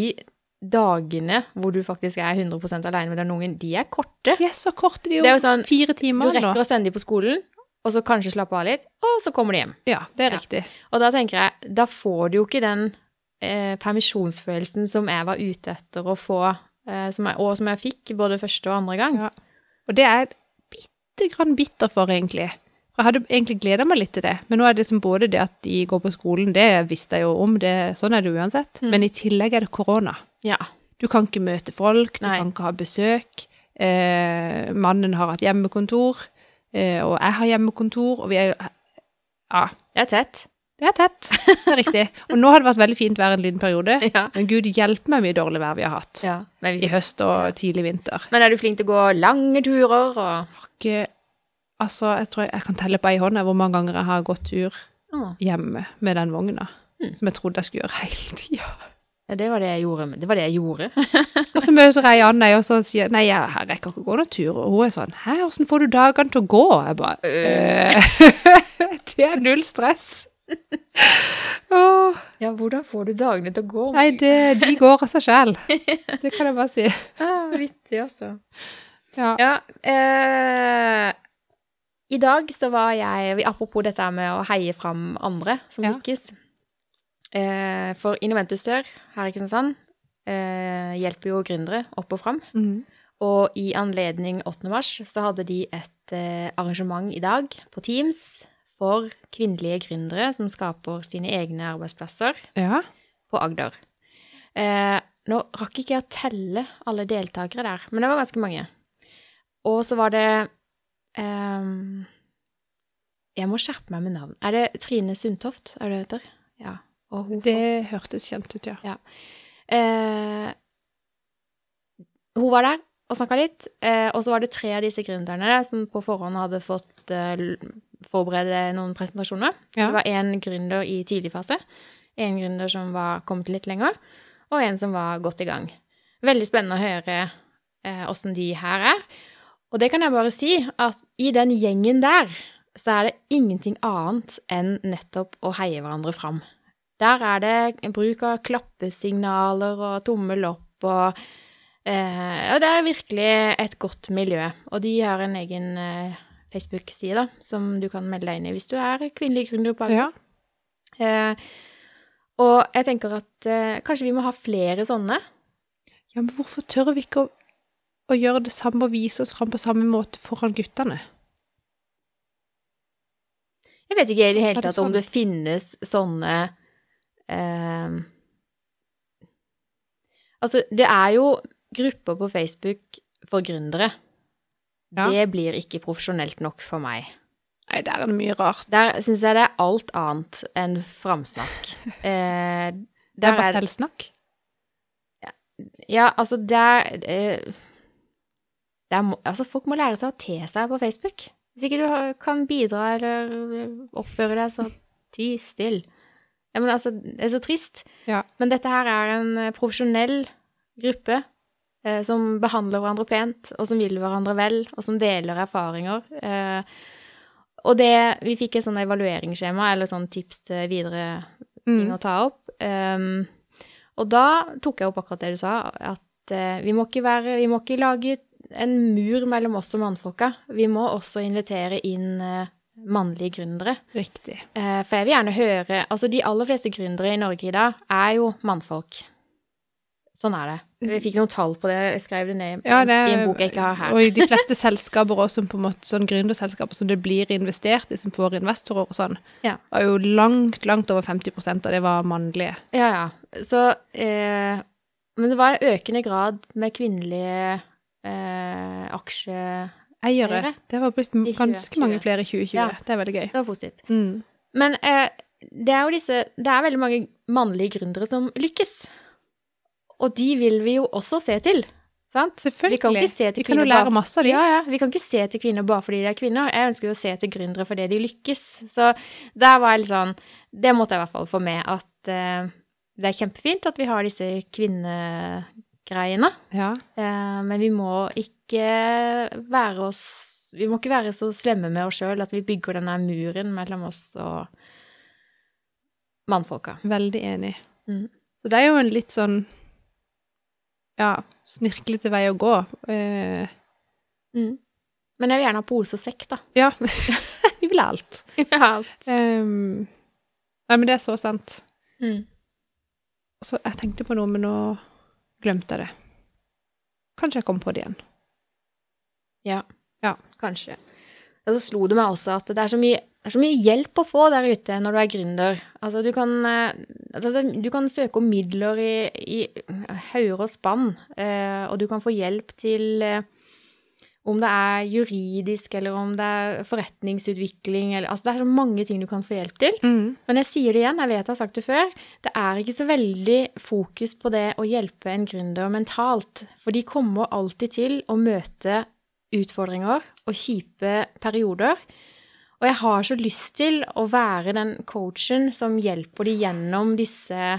dagene hvor du faktisk er 100 aleine med den ungen, de er korte. De er så korte, de Det er jo. jo sånn Fire Du timer nå. rekker å sende dem på skolen, og så kanskje slappe av litt, og så kommer de hjem. Ja, det er Ja. riktig. Og da tenker jeg, da får du jo ikke den eh, permisjonsfølelsen som jeg var ute etter å få, eh, som jeg, og som jeg fikk både første og andre gang. Ja. Og det er jeg bitte grann bitter for, egentlig. For Jeg hadde egentlig gleda meg litt til det, men nå er det liksom både det at de går på skolen, det visste jeg jo om, det, sånn er det uansett, Mm. men i tillegg er det korona. Ja. Du kan ikke møte folk, du Nei. kan ikke ha besøk. Eh, mannen har hatt hjemmekontor, eh, og jeg har hjemmekontor, og vi er Ja, Det er tett. det er tett. Det er riktig. Og nå har det vært veldig fint vær en liten periode, Ja. men gud hjelpe meg hvor mye dårlig vær vi har hatt Men, i vi, høst og tidlig vinter. men er du flink til å gå lange turer og Ikke, altså, jeg tror jeg, jeg kan telle på ei hånd jeg, hvor mange ganger jeg har gått tur hjemme med den vogna. Mm. Som jeg trodde jeg skulle gjøre hele tida. ja, Det var det jeg gjorde. men Det var det jeg gjorde. Og så møter jeg Janne, og så sier Nei, jeg, jeg rekker ikke å gå noen tur. Og hun er sånn Hæ, åssen får du dagene til å gå? Jeg bare «Øh, Det er null stress. Åh, Ja, hvordan får du dagene til å gå? nei, det, de går av seg sjæl. Det kan jeg bare si. Ah, vittig, altså. Ja. Ja, eh, I dag så var jeg Apropos dette her med å heie fram andre som Ja. lykkes. Eh, for Innoventus Dør her i Kristiansand eh, hjelper jo gründere opp og fram. Mhm. Og i anledning 8. mars så hadde de et eh, arrangement i dag på Teams for kvinnelige gründere som skaper sine egne arbeidsplasser ja. på Agder. Eh, nå rakk ikke jeg å telle alle deltakere der, men det var ganske mange. Og så var det ehm, Jeg må skjerpe meg med navn. Er det Trine Sundtoft? Er det det heter? Ja. Og Hofoss. Det hørtes kjent ut, ja. Eh, hun var der og snakka litt. Eh, og så var det tre av disse gründerne som på forhånd hadde fått eh, l- forberede noen presentasjoner. Så Ja. Det var én gründer i tidlig fase, én gründer som var kommet litt lenger, og en som var godt i gang. Veldig spennende å høre eh, åssen de her er. Og det kan jeg bare si, at i den gjengen der, så er det ingenting annet enn nettopp å heie hverandre fram. Der er det bruk av klappesignaler og tommel opp og eh, Ja, det er virkelig et godt miljø. Og de har en egen eh, Facebook-side da, som du kan melde deg inn i hvis du er kvinnelig gründer på Agder. ja. Eh, og jeg tenker at eh, kanskje vi må ha flere sånne. Ja, men hvorfor tør vi ikke å, å gjøre det samme og vise oss fram på samme måte foran guttene? Jeg vet ikke i det Er hele det tatt om det finnes sånne eh, Altså, det er jo grupper på Facebook for gründere. Ja. Det blir ikke profesjonelt nok for meg. Nei, der er det mye rart. Der syns jeg det er alt annet enn framsnakk. Eh, Det er der bare er- selvsnakk. Ja, altså, der, eh, der må, Altså, folk må lære seg å te seg på Facebook. Hvis ikke du har- kan bidra eller oppføre deg, så ti still. Ja, men altså, det er så trist. Ja. Men dette her er en eh, profesjonell gruppe eh, som behandler hverandre pent, og som vil hverandre vel, og som deler erfaringer. Eh, og det Vi fikk et sånn evalueringsskjema, eller sånn tips til videre ting Mm. å ta opp. Um, og da tok jeg opp akkurat det du sa, at eh, vi, må ikke være, vi må ikke lage en mur mellom oss og mannfolka. Vi må også invitere inn eh, mannlige gründere. Riktig. Eh, for jeg vil gjerne høre Altså, de aller fleste gründere i Norge i dag er jo mannfolk. Sånn er det. Vi fikk noen tall på det, jeg skrev det ned i- Ja, det, i en bok jeg ikke har her. Og i de fleste selskaper også, som på en måte sånn gründerselskaper som det blir investert i, som får investorer og sånn, Ja. var jo langt, langt over 50 av det var mannlige. Ja, ja. Så eh, Men det var i økende grad med kvinnelige eh, aksje... Eiere. Eiere. Det var blitt I 2020. ganske mange flere i 2020. Ja. Det er veldig gøy. Det var positivt. Mm. Men eh, det er jo disse Det er veldig mange mannlige gründere som lykkes. Og de vil vi jo også se til, sant? Selvfølgelig. Vi kan ikke se til Vi kan jo kvinner lære bare- masse av de. Ja, ja. Vi kan ikke se til kvinner bare fordi de er kvinner. Jeg ønsker jo å se til gründere fordi de lykkes. Så der var jeg litt sånn Det måtte jeg i hvert fall få med at eh, det er kjempefint at vi har disse kvinnegreiene. Ja. Eh, men vi må ikke være oss Vi må ikke være så slemme med oss sjøl at vi bygger denne muren mellom oss og mannfolka. Veldig enig. Mm. Så det er jo en litt sånn ja, snirklete vei å gå. Eh, Men jeg vil gjerne ha pose og sekk, da. ja, vi vil ha alt. Alt. Ehm, nei, men det er så sant. Mm. Så jeg tenkte på noe, men nå glemte jeg det. Kanskje jeg kom på det igjen. Ja. Ja. Kanskje. Og så slo det meg også at det er så mye, det er så mye hjelp å få der ute når du er gründer. Altså, du kan, eh, altså, det- du kan søke om midler i, i hauger og spann, eh, og du kan få hjelp til eh, om det er juridisk, eller om det er forretningsutvikling, eller Altså, det er så mange ting du kan få hjelp til. Men jeg sier det igjen, jeg vet jeg har sagt det før, det er ikke så veldig fokus på det å hjelpe en gründer mentalt. For de kommer alltid til å møte utfordringer og kjipe perioder. Og jeg har så lyst til å være den coachen som hjelper de gjennom disse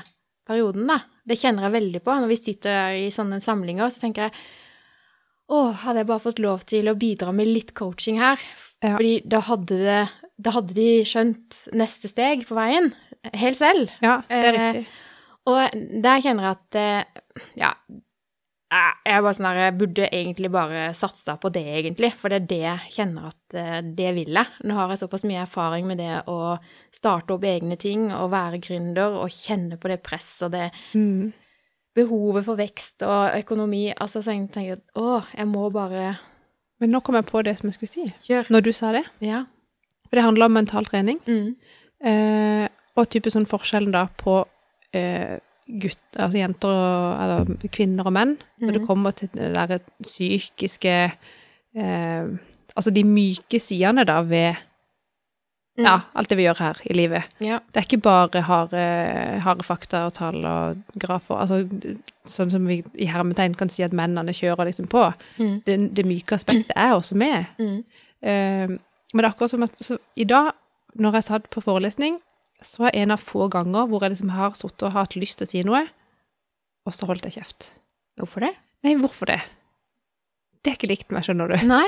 periodene. da. Det kjenner jeg veldig på. Når vi sitter der i sånne samlinger, så tenker jeg å, hadde jeg bare fått lov til å bidra med litt coaching her, Ja. fordi da hadde det da hadde de skjønt neste steg på veien helt selv. Ja, det er Eh, riktig. Og der kjenner jeg at eh, ja, eh, jeg er bare sånn der, jeg burde egentlig bare satsa på det, egentlig. For det er det jeg kjenner at eh, det vil jeg. Nå har jeg såpass mye erfaring med det å starte opp egne ting og være gründer og kjenne på det presset og det Mm. behovet for vekst og økonomi. Altså, så jeg tenker at å, jeg må bare Men nå kom jeg på det som jeg skulle si, gjøre når du sa det. Ja. For det handler om mental trening. Mm. Eh, og type sånn forskjellen da på eh, gutt, altså jenter og eller kvinner og menn, når det Mhm. kommer til det der psykiske eh, Altså de myke sidene da ved Mm. ja, alt det vi gjør her i livet. Ja. Det er ikke bare harde, harde fakta og tall og grafer. Altså, sånn som vi i hermetegn kan si at mennene kjører liksom på. Mm. Det, det myke aspektet er også med. Mm. Eh, men det er akkurat som at så, i dag, når jeg satt på forelesning, så er en av få ganger hvor jeg liksom har sittet og hatt lyst til å si noe, og så holdt jeg kjeft. Hvorfor det? Nei, hvorfor det? Det er ikke likt meg, skjønner du. Nei.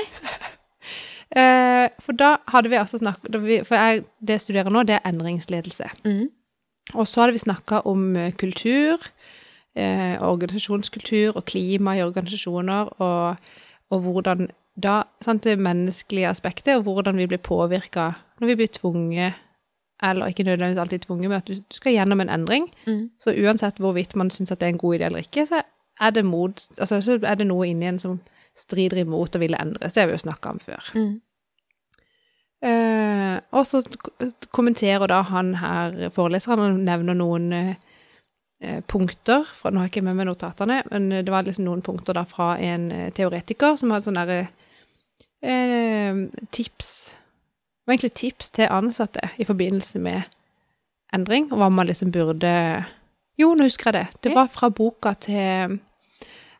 Eh, for da hadde vi altså snakket da vi- For jeg, det jeg studerer nå, det er endringsledelse. Mm. Og så hadde vi snakka om eh, kultur, eh, organisasjonskultur og klima i organisasjoner, og, og hvordan da sant, Det menneskelige aspektet, og hvordan vi blir påvirka når vi blir tvunget, eller ikke nødvendigvis alltid tvunget, men at du du skal gjennom en endring. Mm. Så uansett hvorvidt man syns at det er en god idé eller ikke, så er det, mot, altså, så er det noe inni en som strider imot og ville endres. Det har vi jo snakka om før. Mm. Eh, og så k- kommenterer da han her foreleseren og nevner noen eh, eh, punkter fra, Nå har jeg ikke med meg notatene, men det var liksom noen punkter da fra en eh, teoretiker som hadde sånne der, eh, tips Det var egentlig tips til ansatte i forbindelse med endring, og hva man liksom burde Jo, nå husker jeg det. Det var fra boka til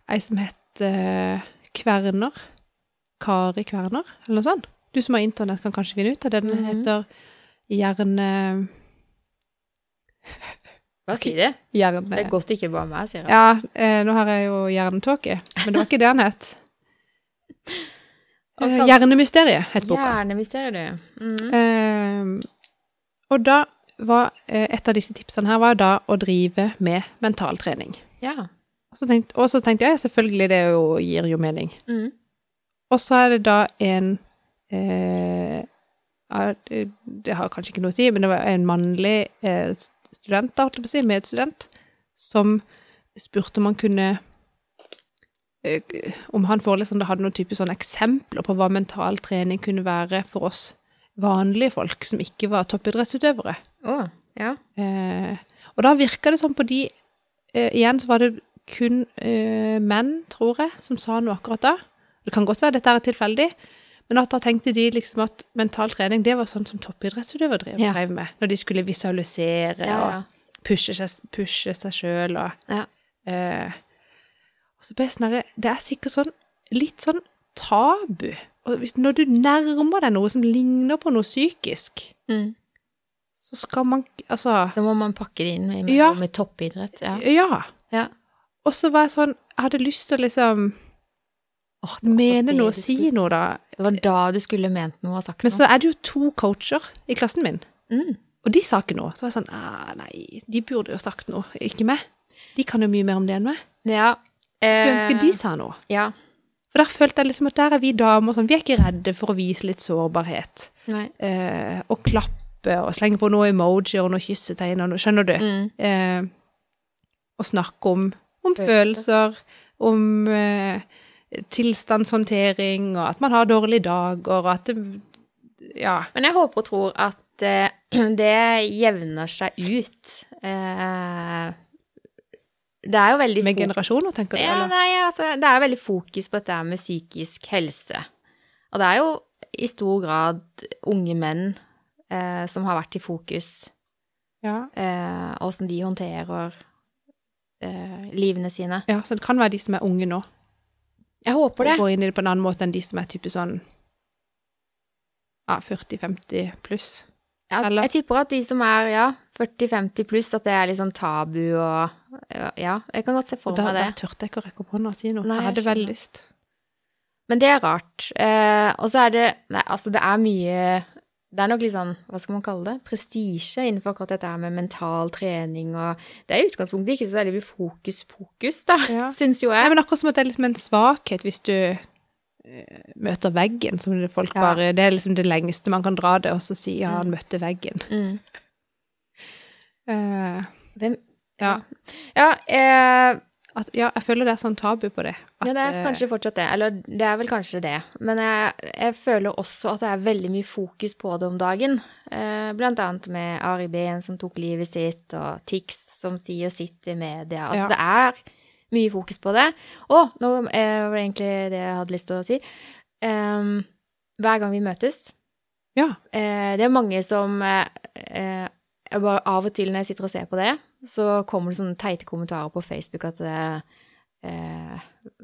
ei som het eh, Kverner. Kari Kverner, eller noe sånt. Du som har internett, kan kanskje finne ut av det. Den Mhm. heter Hjerne... Hva sier det? Hjerne... Det er godt det ikke bare meg, sier jeg. Ja, eh, nå har jeg jo hjernetåke, men det var ikke det han het. Og Eh, kan- Hjernemysteriet het boka. Hjernemysteriet, du. Mm. Eh, og da var eh, et av disse tipsene her var da å drive med mentaltrening. Ja. Og så tenkte, og så tenkte jeg selvfølgelig det jo, gir jo mening. Mm. Og så er det da en eh, ja, det det har kanskje ikke noe å si, men det var en mannlig eh, st- student, da, holdt jeg på å si, medstudent, som spurte om han kunne eh, k- Om han foreleseren da hadde noen type sånne eksempler på hva mental trening kunne være for oss vanlige folk som ikke var toppidrettsutøvere. Å, ja. Eh, og da virka det sånn på de eh, Igjen så var det kun eh, menn, tror jeg, som sa noe akkurat da. Det kan godt være dette er tilfeldig, men at da tenkte de liksom at mental trening det var sånn som toppidrettsutøvere drev, Ja. drev med. Når de skulle visualisere Ja, ja. og pushe seg, pushe seg sjøl og Ja. eh, og så ble jeg sånn herre, Det er sikkert sånn litt sånn tabu. Og hvis, når du nærmer deg noe som ligner på noe psykisk, Mm. så skal man Altså Så må man pakke det inn med, med, Ja. med toppidrett. Ja. Ja. Ja. Og så var jeg sånn Jeg hadde lyst til å liksom Åh, det var mene det noe, du si skulle- noe, da. Det var da du skulle ment noe og sagt Men noe. så er det jo to coacher i klassen min, Mm. og de sa ikke noe. Så var jeg sånn ah, Nei, de burde jo sagt noe, ikke meg. De kan jo mye mer om det enn meg. Ja. Eh, Skulle ønske de sa noe. Ja. For der følte jeg liksom at der er vi damer sånn Vi er ikke redde for å vise litt sårbarhet. Nei. Eh, og klappe og slenge på noe emoji og noe kyssetegn og noe Skjønner du? Mm. eh, å snakke om, om Følelser. følelser, om eh, tilstandshåndtering, og at man har dårlige dager, og at det Ja. Men jeg håper og tror at eh, det jevner seg ut. Eh, det er jo veldig Med fort- generasjoner, tenker du? Ja, eller? nei, altså, det er veldig fokus på dette her med psykisk helse. Og det er jo i stor grad unge menn eh, som har vært i fokus, Ja. eh, og hvordan de håndterer eh, livene sine. ja, så det kan være de som er unge nå, Jeg håper det. og går inn i det på en annen måte enn de som er type sånn ja, 40-50 pluss. Ja, Eller- jeg tipper at de som er ja, 40-50 pluss, at det er litt sånn tabu og Ja, jeg kan godt se Så for da, meg det. da tørte jeg ikke å rekke opp hånda og si noe. Nei, jeg jeg hadde veldig skjønner. lyst. Men det er rart. Eh, og så er det Nei, altså, det er mye det er nok litt sånn, hva skal man kalle det, prestisje innenfor akkurat dette her med mental trening og Det er i utgangspunktet ikke så veldig mye fokus-fokus, da, Ja. syns jo Nei, jeg. men akkurat som at det er liksom en svakhet hvis du eh, møter veggen, som det folk Ja. bare Det er liksom det lengste man kan dra det, og så si ja, han møtte veggen. Mm. Eh, Hvem ja. Ja, eh, At, ja, jeg føler det er sånn tabu på det. At, ja, det er eh, kanskje fortsatt det. Eller det er vel kanskje det. Men jeg, jeg føler også at det er veldig mye fokus på det om dagen. Eh, blant annet med Ari Behn som tok livet sitt, og Tix som sier sitt i media. Ja. Altså det er mye fokus på det. Og nå eh, var det egentlig det jeg hadde lyst til å si. Em, hver gang vi møtes Ja. Eh, det er mange som eh, eh, jeg bare Av og til når jeg sitter og ser på det, så kommer det sånne teite kommentarer på Facebook at eh, eh,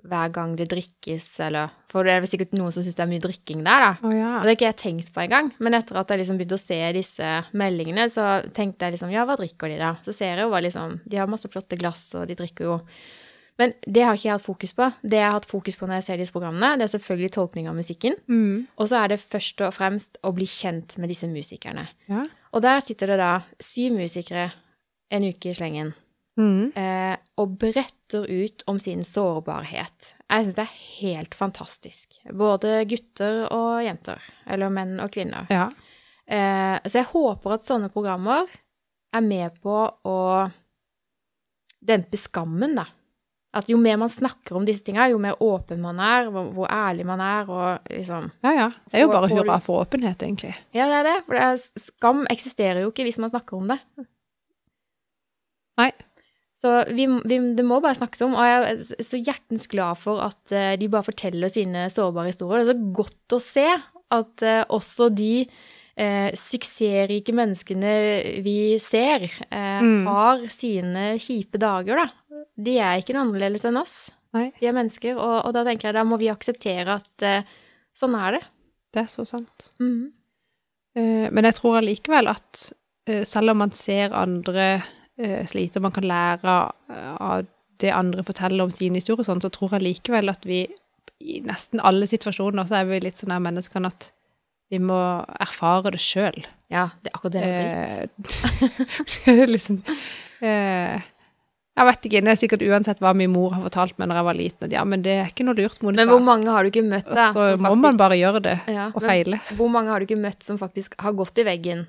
hver gang det drikkes, eller For det er vel sikkert noen som syns det er mye drikking der, da. Å ja. Og det har ikke jeg tenkt på engang, men etter at jeg liksom begynte å se disse meldingene, så tenkte jeg liksom, ja, hva drikker de da? Så ser jeg jo hva liksom, de har masse flotte glass, og de drikker jo. Men det har ikke jeg hatt fokus på. Det jeg har hatt fokus på når jeg ser disse programmene, det er selvfølgelig tolkning av musikken, Mm. og så er det først og fremst å bli kjent med disse musikerne. ja. Og der sitter det da syv musikere en uke i slengen Mm. eh, og bretter ut om sin sårbarhet. Jeg syns det er helt fantastisk. Både gutter og jenter. Eller menn og kvinner. ja. Eh, så jeg håper at sånne programmer er med på å dempe skammen, da. At jo mer man snakker om disse tinga, jo mer åpen man er, hvor, hvor ærlig man er, og liksom Ja, ja. Det er jo Får- bare får- hurra for åpenhet, egentlig. Ja, det er det. For det er, skam eksisterer jo ikke hvis man snakker om det. Nei. Så vi, vi, det må bare snakkes om. Og jeg er så hjertens glad for at eh, de bare forteller sine sårbare historier. Det er så godt å se at eh, også de eh, suksessrike menneskene vi ser, eh, Mm. har sine kjipe dager, da. De er ikke noe annerledes enn oss. Nei. De er mennesker. Og, og da tenker jeg da må vi akseptere at eh, sånn er det. Det er så sant. Mhm. Eh, men jeg tror allikevel at eh, selv om man ser andre eh, slite, og man kan lære eh, av det andre forteller om sin historie, og sånn, så tror jeg likevel at vi i nesten alle situasjoner så er vi litt sånn her menneskene at vi må erfare det sjøl. Ja, det, akkurat det er noe dritt. Eh, liksom, eh, jeg vet ikke, det er sikkert uansett hva min mor har fortalt meg når jeg var liten, at ja, men det er ikke noe lurt, Monica. Men hvor mange har du ikke møtt, da? Og så som må faktisk- man bare gjøre det, Ja, og men feile. Hvor mange har du ikke møtt som faktisk har gått i veggen,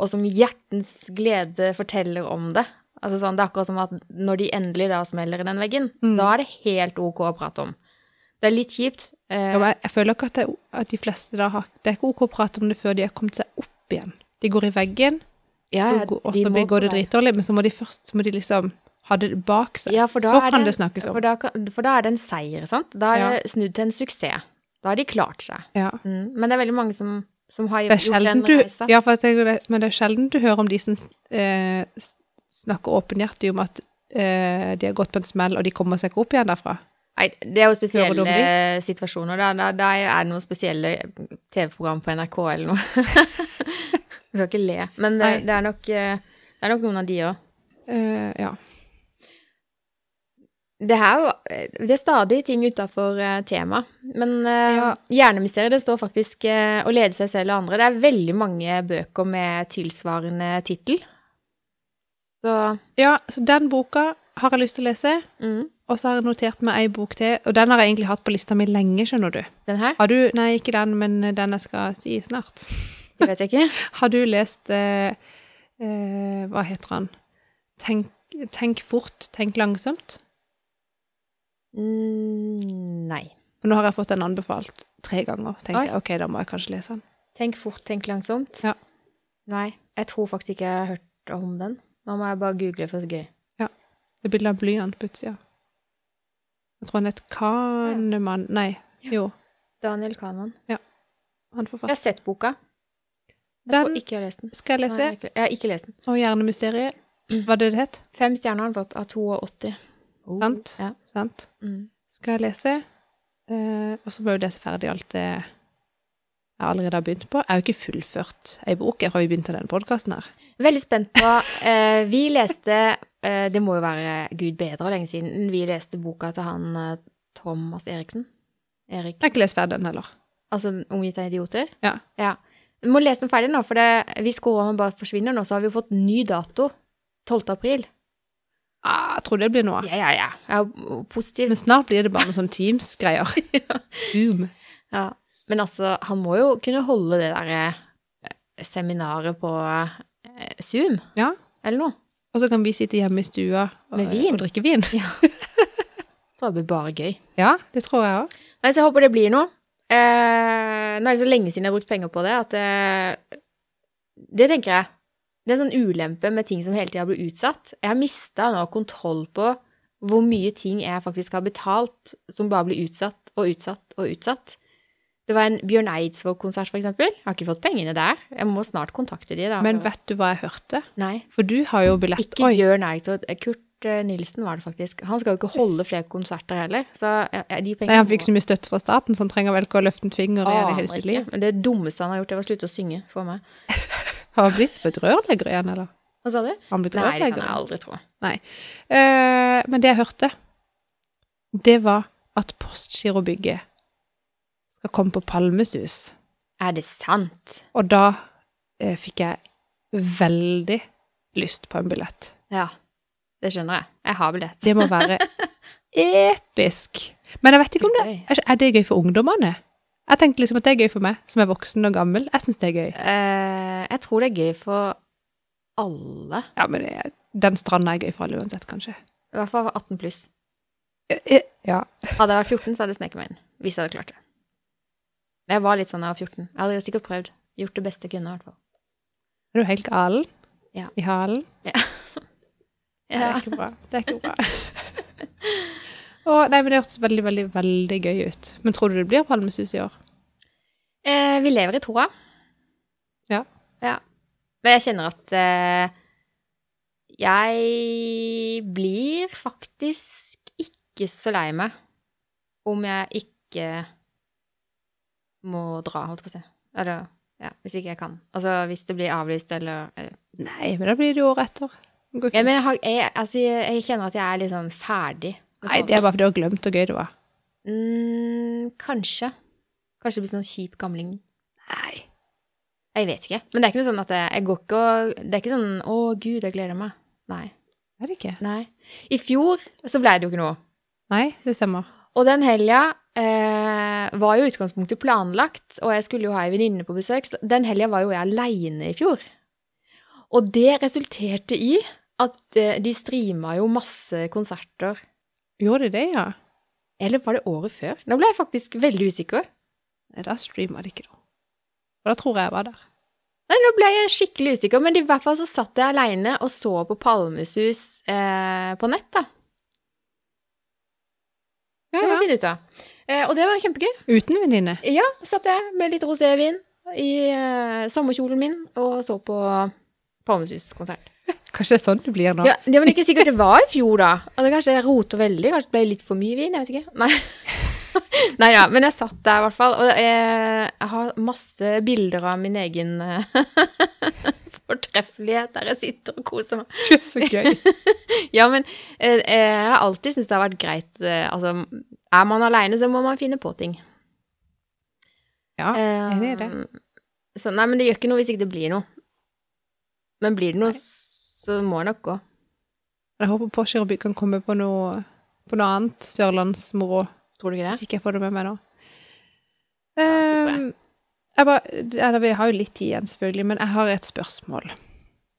og som hjertens glede forteller om det? Altså sånn, Det er akkurat som at når de endelig da smeller i den veggen, Mm. da er det helt ok å prate om. Det er litt kjipt. eh, Ja, men jeg, jeg føler ikke at, det, er o- at de fleste da har Det er ikke OK å prate om det før de har kommet seg opp igjen. De går i veggen, ja, ja, og går- og de så blir- må går det på vei. dritdårlig, men så må de først så må de liksom ha det bak seg. Ja, for da så er kan en- det snakkes om. For da, kan- for da er det en seier, sant? Da er det snudd til en suksess. Da har de klart seg. Ja. Mm. Men det er veldig mange som, som har Det er gjort sjelden den du, reisa. ja, for at jeg, men det er sjelden du hører om de som eh, s- snakker åpenhjertig om at eh, de har gått på en smell, og de kommer seg ikke opp igjen derfra. Nei, det er jo Hører du om spesielle situasjoner. Da, da, da er det noen spesielle TV-program på NRK eller noe. Du skal ikke le. Men det, Nei. det, er, nok, eh, det er nok noen av de òg. Eh, ja. Det, her var- det er stadig ting utafor temaet. Men eh, Ja. hjernemysteriet det står faktisk eh, å lede seg selv og andre. Det er veldig mange bøker med tilsvarende tittel. Så ja, så den boka har jeg lyst til å lese, mm, og så har jeg notert meg ei bok til, og den har jeg egentlig hatt på lista mi lenge, skjønner du. den her, Har du, nei, ikke den, men den jeg skal si snart. det vet jeg ikke. Har du lest eh, eh, Hva heter han? Tenk, tenk fort, tenk langsomt. Mm, nei. Og nå har jeg fått den anbefalt tre ganger. Oi. Tenkte jeg, ok, da må jeg kanskje lese den. Tenk fort, tenk langsomt. Ja. Nei, jeg tror faktisk ikke jeg har hørt om den. Nå må jeg bare google for gøy. Det er bilde av blyant på utsida. Jeg tror han het Kanemann Nei, jo, Daniel Kanon. han Jeg forfatter. har sett boka. Jeg Den tror ikke jeg har lest den. skal jeg Nei, jeg, lese. har ikke, jeg har ikke lest den. Og Hjernemysteriet. Hva er det det het? Fem stjerner har den fått av 82. Oh. Sant? Ja. Sant? Mm. Skal jeg lese. Eh, og så må jeg jo lese ferdig alt det jeg allerede har begynt på. Jeg har jo ikke fullført ei bok. Jeg har jo begynt av den podkasten her. Veldig spent på eh, Vi leste eh, Det må jo være Gud bedre lenge siden. Vi leste boka til han eh, Thomas Eriksen. Erik. Jeg har ikke lest ferdig den heller. Altså Ung gitt av idioter? Ja. Vi må lese den ferdig nå, for det, hvis koronaen bare forsvinner nå, så har vi jo fått ny dato. 12. april. Ah, jeg tror det blir noe. Ja, ja, ja. Jeg er jo positiv. Men snart blir det bare noen sånn Teams-greier. Zoom. Ja. Men altså, han må jo kunne holde det der eh, seminaret på eh, Zoom, Ja. eller noe. Og så kan vi sitte hjemme i stua og, Med vin. og drikke vin. Jeg tror det blir bare gøy. Ja, det tror jeg òg. Nei, så jeg håper det blir noe. Eh, nå er det så lenge siden jeg har brukt penger på det, at eh, Det tenker jeg. Det er en sånn ulempe med ting som hele tida blir utsatt. Jeg har mista nå kontroll på hvor mye ting jeg faktisk har betalt, som bare blir utsatt og utsatt og utsatt. Det var en Bjørn Eidsvåg-konsert, for eksempel. Jeg har ikke fått pengene der. Jeg må snart kontakte de, da. Men vet du hva jeg hørte? Nei. For du har jo billett. Ikke Bjørn Eidsvåg. Kurt eh, Nilsen var det faktisk. Han skal jo ikke holde flere konserter heller, så eh, de pengene Nei, han fikk så mye støtte fra staten, så han trenger vel ikke å løfte en finger igjen i hele Aner sitt ikke. liv. Men det dummeste han har gjort, det var å slutte å synge for meg. Har han blitt blitt rørlegger igjen, eller? Hva sa du? Har Han blitt Nei, det kan rørlegger. jeg aldri tro. Nei. Eh, men det jeg hørte, det var at Postgirobygget skal komme på Palmesus. Er det sant? Og da eh, fikk jeg veldig lyst på en billett. Ja. Det skjønner jeg. Jeg har billett. Det må være episk. Men jeg vet ikke om det Gøy. Er det gøy for ungdommene? Jeg tenkte liksom at det er gøy for meg, som er voksen og gammel. Jeg syns det er gøy. Eh, jeg tror det er gøy for alle. Ja, men det- den stranda er gøy for alle uansett, kanskje. I hvert fall 18 pluss. Ja. Hadde jeg vært 14, så hadde jeg sneket meg inn. Hvis jeg hadde klart det. Jeg var litt sånn da jeg var 14. Jeg hadde sikkert prøvd. Gjort det beste jeg kunne, i hvert fall. Er du helt gal Ja. i halen? Det Ja. er ikke bra. Det er ikke bra. Å, nei, men det hørtes veldig, veldig, veldig gøy ut. Men tror du det blir Palmesus i år? Eh, vi lever i troa. Ja. Ja. Men jeg kjenner at eh, jeg blir faktisk ikke så lei meg om jeg ikke må dra, holdt på å si. Eller ja, hvis ikke jeg kan. Altså hvis det blir avlyst eller eller- Nei, men da blir det jo året etter. Det går Jeg, fint. mener, jeg har- jeg, altså, jeg, jeg kjenner at jeg er litt sånn ferdig. med Nei, det er bare fordi du har glemt hvor gøy det var. Mm, kanskje. Kanskje det blir sånn kjip gamling. Nei. Jeg vet ikke. Men det er ikke noe sånn at jeg, jeg går ikke og Det er ikke sånn 'Å, gud, jeg gleder meg'. Nei. Er det ikke? Nei. I fjor så ble det jo ikke noe. Nei, det stemmer. Og den helga eh, var jo i utgangspunktet planlagt, og jeg skulle jo ha ei venninne på besøk. Så den helga var jo jeg aleine i fjor. Og det resulterte i at eh, de streama jo masse konserter. Gjorde de det, ja? Eller var det året før? Nå ble jeg faktisk veldig usikker. Nei, da streama de ikke noe. For da tror jeg jeg var der. Nei, nå ble jeg skikkelig usikker, men i hvert fall så satt jeg aleine og så på Palmesus eh, på nett, da. Det må vi finne ut av. Eh, og det var kjempegøy. Uten venninne. Ja, satt jeg med litt rosévin i eh, sommerkjolen min og så på Palmesus-konsert. Kanskje det er sånn det blir nå? Ja, det var ikke sikkert det var i fjor, da. Altså, kanskje jeg roter veldig, kanskje det ble litt for mye vin, jeg vet ikke. Nei. Nei da, men jeg satt der i hvert fall. Og eh, jeg har masse bilder av min egen eh, fortreffelighet der jeg sitter og koser meg. Det er så gøy. Ja, men eh, eh, jeg har alltid syntes det har vært greit eh, Altså, er man aleine, så må man finne på ting. Ja, Eh, enig i det. Så nei, men det gjør ikke noe hvis ikke det blir noe. Men blir det noe, så må jeg nok gå. Jeg håper Porsgrunn kan komme på noe, på noe annet sørlandsmoro. Tror du ikke Hvis ikke jeg får det med meg nå. Ja, Ehm, jeg bare, eller, vi har jo litt tid igjen, selvfølgelig, men jeg har et spørsmål.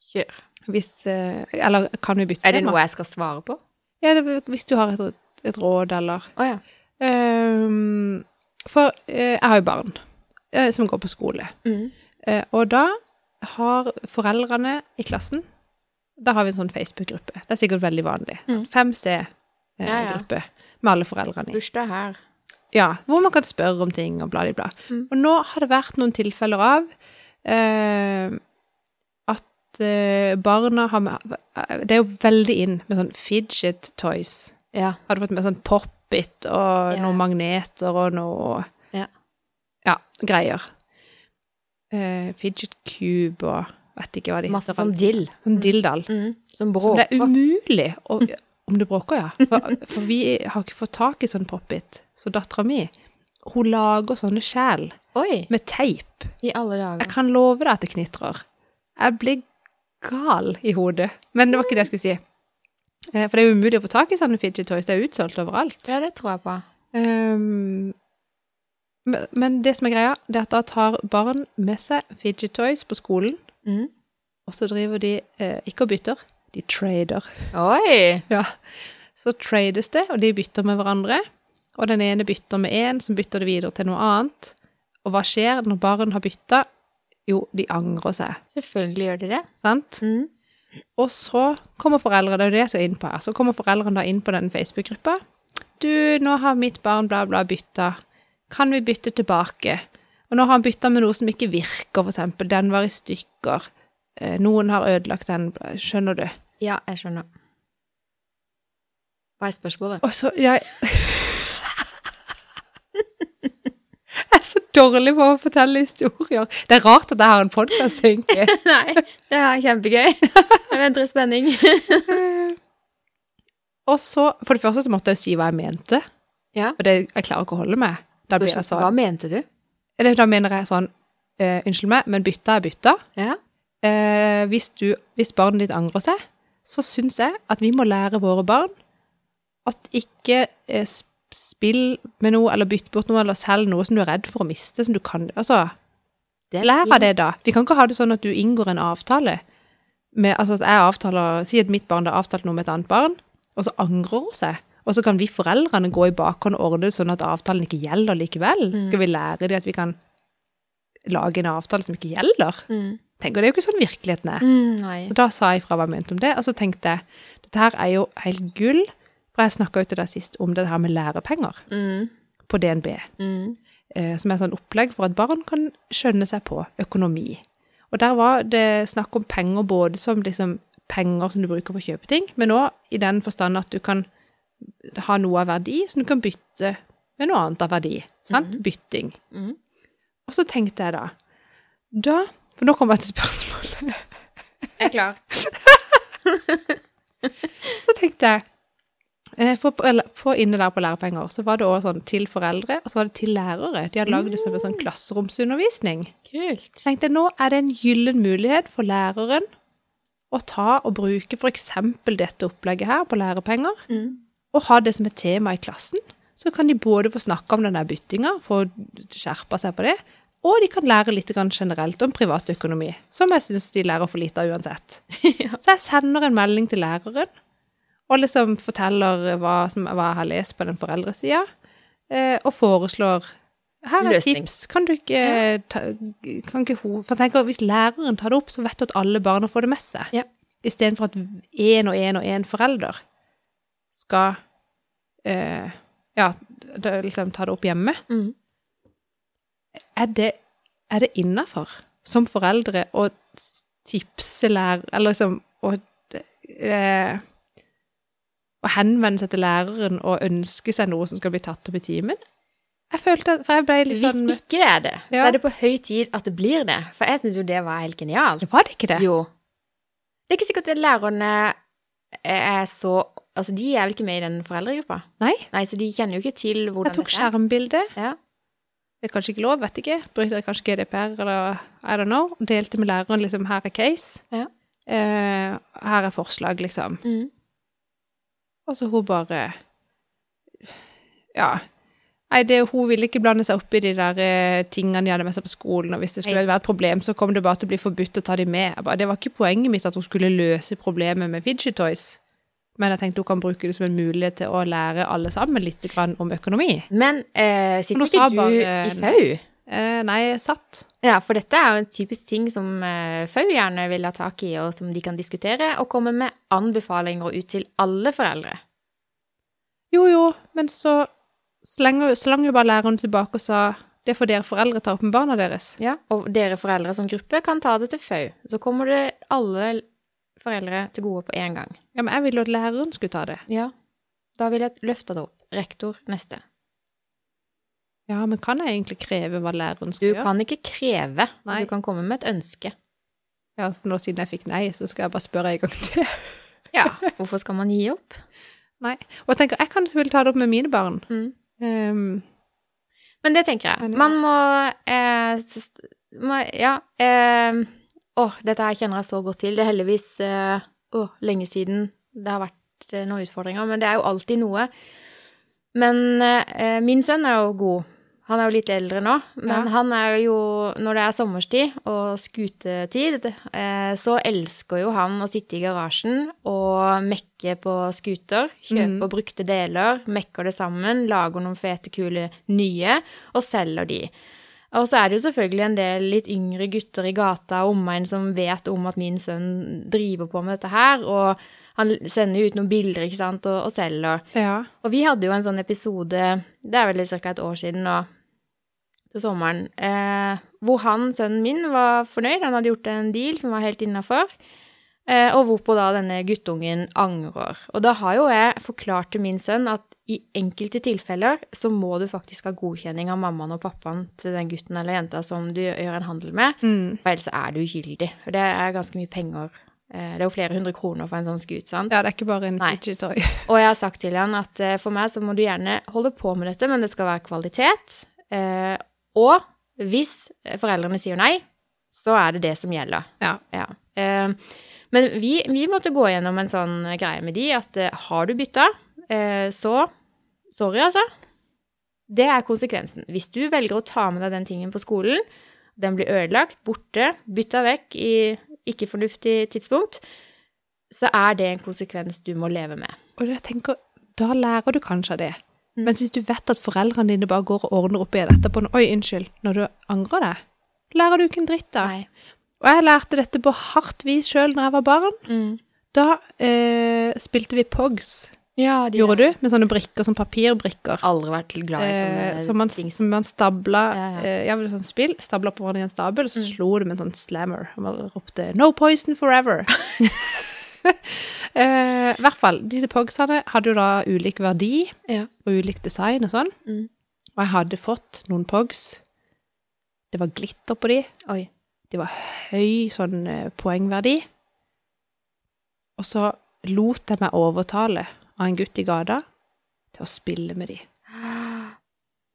Kjør. Hvis, eh, eller kan vi bytte Er det tema? noe jeg skal svare på? Ja, det, hvis du har et, et råd, eller Å ja. Ehm, For eh, jeg har jo barn eh, som går på skole. Mm. Eh, og da har foreldrene i klassen Da har vi en sånn Facebook-gruppe. Det er sikkert veldig vanlig. Mm. 5C-gruppe Ja, ja. med alle foreldrene i. Bursdag her. Ja, hvor man kan spørre om ting og bla, bla, bla. Mm. Og nå har det vært noen tilfeller av eh, at eh, barna har med eh, Det er jo veldig inn med sånn fidget toys. Ja. Har du fått med sånn pop-it og Ja. noen magneter og noe Ja. ja, greier. Eh, fidget cube og vet ikke hva det Masse heter. sånn dill. Sånn dilldall. Mm. Som Som det er bråker. Mm. umulig å Om det bråker, ja. For, for vi har ikke fått tak i sånn pop-it. Så dattera mi, hun lager sånne skjell Oi! med teip. I alle Jeg dager. kan love deg at det knitrer. Jeg blir gal i hodet. Men det var ikke det jeg skulle si. Eh, For det er jo umulig å få tak i sånne fidget toys. Det er utsolgt overalt. Ja, det tror jeg på. Ehm, men- men det som er greia, det er at da tar barn med seg fidget toys på skolen, Mm. og så driver de eh, ikke og bytter, de trader. Oi! Ja. Så trades det, og de bytter med hverandre. Og den ene bytter med en, som bytter det videre til noe annet. Og hva skjer når barn har bytta? Jo, de angrer seg, Selvfølgelig gjør de det. sant? Mm. Og så kommer foreldre, det er jo det jeg skal inn på her, så kommer foreldrene da inn på den Facebook-gruppa. Du, nå har mitt barn bla bla bytta. Kan vi bytte tilbake? Og nå har han bytta med noe som ikke virker, for eksempel. Den var i stykker. Eh, Noen har ødelagt den, skjønner du. Ja, jeg skjønner. Hva er spørsmålet? Og så, jeg... Jeg er så dårlig på å fortelle historier. Det er rart at jeg har en podcast, egentlig. Nei, det er kjempegøy. Jeg venter i spenning. Og så, for det første så måtte jeg jo si hva jeg mente. Ja. Og det, jeg klarer ikke å holde meg. Da blir jeg Hva sånn, mente du? eller, da mener jeg sånn, eh, unnskyld meg, men bytta er bytta. Ja. Eh, hvis, du, hvis barnet ditt angrer seg, så syns jeg at vi må lære våre barn at ikke eh, sp- spill med noe, eller bytt bort noe, eller selg noe som du er redd for å miste, som du kan Altså, Det lær av det, da. Vi kan ikke ha det sånn at du inngår en avtale med Altså at jeg avtaler Si at mitt barn har avtalt noe med et annet barn, og så angrer hun seg. Og så kan vi foreldrene gå i bakhånd og ordne det sånn at avtalen ikke gjelder likevel. Mm. Skal vi lære dem at vi kan lage en avtale som ikke gjelder? Mm. Tenk, og det er jo ikke sånn virkeligheten er. Mm, nei. Så da sa jeg fra hva jeg mente om det, og så tenkte jeg dette her er jo helt gull, for jeg snakka jo til deg sist om det her med lærepenger Mm. på DNB, Mm. eh, som er sånn opplegg for at barn kan skjønne seg på økonomi. Og der var det snakk om penger både som liksom penger som du bruker for å kjøpe ting, men òg i den forstand at du kan ha noe av verdi som du kan bytte med noe annet av verdi. Sant? Bytting. Mm. Og så tenkte jeg da, da For nå kommer jeg til spørsmålet. Jeg er klar. Så tenkte jeg eh, på, eller, på Inne der på lærepenger så var det også sånn til foreldre, og så var det til lærere. De hadde lagd det som en sånn klasseromsundervisning. Kult. Så tenkte jeg nå er det en gyllen mulighet for læreren å ta og bruke f.eks. dette opplegget her på lærepenger, Mm. og ha det som et tema i klassen. Så kan de både få snakke om den der byttinga, få skjerpa seg på det, og de kan lære litt grann generelt om privatøkonomi, som jeg syns de lærer for lite av uansett. ja. Så jeg sender en melding til læreren, og liksom forteller hva, som, hva jeg har lest på den foreldresida, eh, og foreslår her er Løsning. tips. Kan du ikke eh, ta, kan ikke hun, For jeg tenker, hvis læreren tar det opp, så vet du at alle barna får det med seg. Ja. Istedenfor at én og én og én forelder skal eh, ja, da liksom ta det opp hjemme. Mm. Er det, er det innafor som foreldre å s- tipse lærer Eller liksom å eh, Å henvende seg til læreren og ønske seg noe som skal bli tatt opp i timen? Jeg følte at For jeg ble litt Hvis sånn ikke det er det, så Ja. er det på høy tid at det blir det. For jeg syns jo det var helt genialt. Var det ikke det? Jo. Det er ikke sikkert at lærerne er så Altså, de er vel ikke med i den foreldregruppa? Nei. Nei, så de kjenner jo ikke til hvordan Jeg tok dette er. skjermbilde. Ja. Det er kanskje ikke lov, vet ikke. Bryter kanskje GDPR eller I don't know. Delte med læreren liksom Her er case. Ja. Eh, her er forslag, liksom. Mm. Og så hun bare Ja. Nei, det, hun ville ikke blande seg opp i de der eh, tingene de hadde med seg på skolen. Og hvis det skulle Nei. være et problem, så kom det bare til å bli forbudt å ta de med. Jeg bare, det var ikke poenget mitt at hun skulle løse problemet med fidget toys. Men jeg tenkte hun kan bruke det som en mulighet til å lære alle sammen litt grann om økonomi. Men eh, sitter Men hun sa ikke du bare- i FAU? Eh, nei, jeg satt. Ja, for dette er jo en typisk ting som eh, FAU gjerne vil ha tak i, og som de kan diskutere, og komme med anbefalinger ut til alle foreldre. Jo, jo, men så slenger, slang jo bare læreren tilbake og sa det får dere foreldre ta opp med barna deres. Ja, og dere foreldre som gruppe kan ta det til FAU. Så kommer det alle foreldre til gode på én gang. Ja, men jeg ville jo at læreren skulle ta det. Ja. Da vil jeg løfte det opp. Rektor neste. Ja, men kan jeg egentlig kreve hva læreren Du skal gjøre? kan ikke kreve, Nei. du kan komme med et ønske. Ja, så nå siden jeg fikk nei, så skal jeg bare spørre en gang til. Ja. Hvorfor skal man gi opp? Nei. Og jeg tenker, jeg kan selvfølgelig ta det opp med mine barn. Mm. Ehm, Men det tenker jeg. Enig. Man må, eh, s- må Ja. Eh, å, dette her kjenner jeg så godt til. Det er heldigvis eh, å, lenge siden det har vært eh, noen utfordringer, men det er jo alltid noe. Men eh, min sønn er jo god. Han er jo litt eldre nå, men Ja. han er jo Når det er sommerstid og skutetid, eh, så elsker jo han å sitte i garasjen og mekke på skuter. Kjøpe Mhm. og brukte deler, mekker det sammen, lager noen fete, kule nye, og selger de. Og så er det jo selvfølgelig en del litt yngre gutter i gata og omegn som vet om at min sønn driver på med dette her, og han sender jo ut noen bilder, ikke sant, og, og selger. Ja. Og vi hadde jo en sånn episode, det er vel ca. et år siden nå, til sommeren, eh, hvor han, sønnen min, var fornøyd. Han hadde gjort en deal som var helt innafor. Eh, og hvorpå da denne guttungen angrer. Og da har jo jeg forklart til min sønn at i enkelte tilfeller så må du faktisk ha godkjenning av mammaen og pappaen til den gutten eller jenta som du gjør en handel med. Mm. For ellers er du ugyldig. Og det er ganske mye penger. Eh, det er jo flere hundre kroner for en sånn skut, sant? ja, det er ikke bare en Nei. fidget-toy. Og jeg har sagt til han at eh, for meg så må du gjerne holde på med dette, men det skal være kvalitet. Eh, og hvis foreldrene sier nei, så er det det som gjelder. Ja. Eh, men vi, vi måtte gå gjennom en sånn greie med de at eh, har du bytta, eh, så Sorry, altså. Det er konsekvensen. Hvis du velger å ta med deg den tingen på skolen, den blir ødelagt, borte, bytta vekk i ikke fornuftig tidspunkt, så er det en konsekvens du må leve med. Og jeg tenker, da lærer du kanskje av det. Mm. Mens hvis du vet at foreldrene dine bare går og ordner opp i det etterpå, oi, unnskyld, når du angrer deg, lærer du ikke en dritt av. Nei. Og jeg lærte dette på hardt vis sjøl når jeg var barn. Mm. Da eh, spilte vi Pogs, Ja, de gjorde du, med sånne brikker, sånn papirbrikker. Aldri vært glad i sånne Eh, som man, ting. som man stabla Ja, Mm. ja. eh, ja, vel, sånn spill, stabla på hverandre i en stabel, så slo det med en sånn slammer. Og man ropte 'No poison forever'. eh, I hvert fall. Disse pogsene hadde jo da ulik verdi Ja. og ulik design og sånn. Mm. Og jeg hadde fått noen pogs. Det var glitter på de. Oi. Det var høy sånn eh, poengverdi. Og så lot jeg meg overtale av en gutt i gata til å spille med de.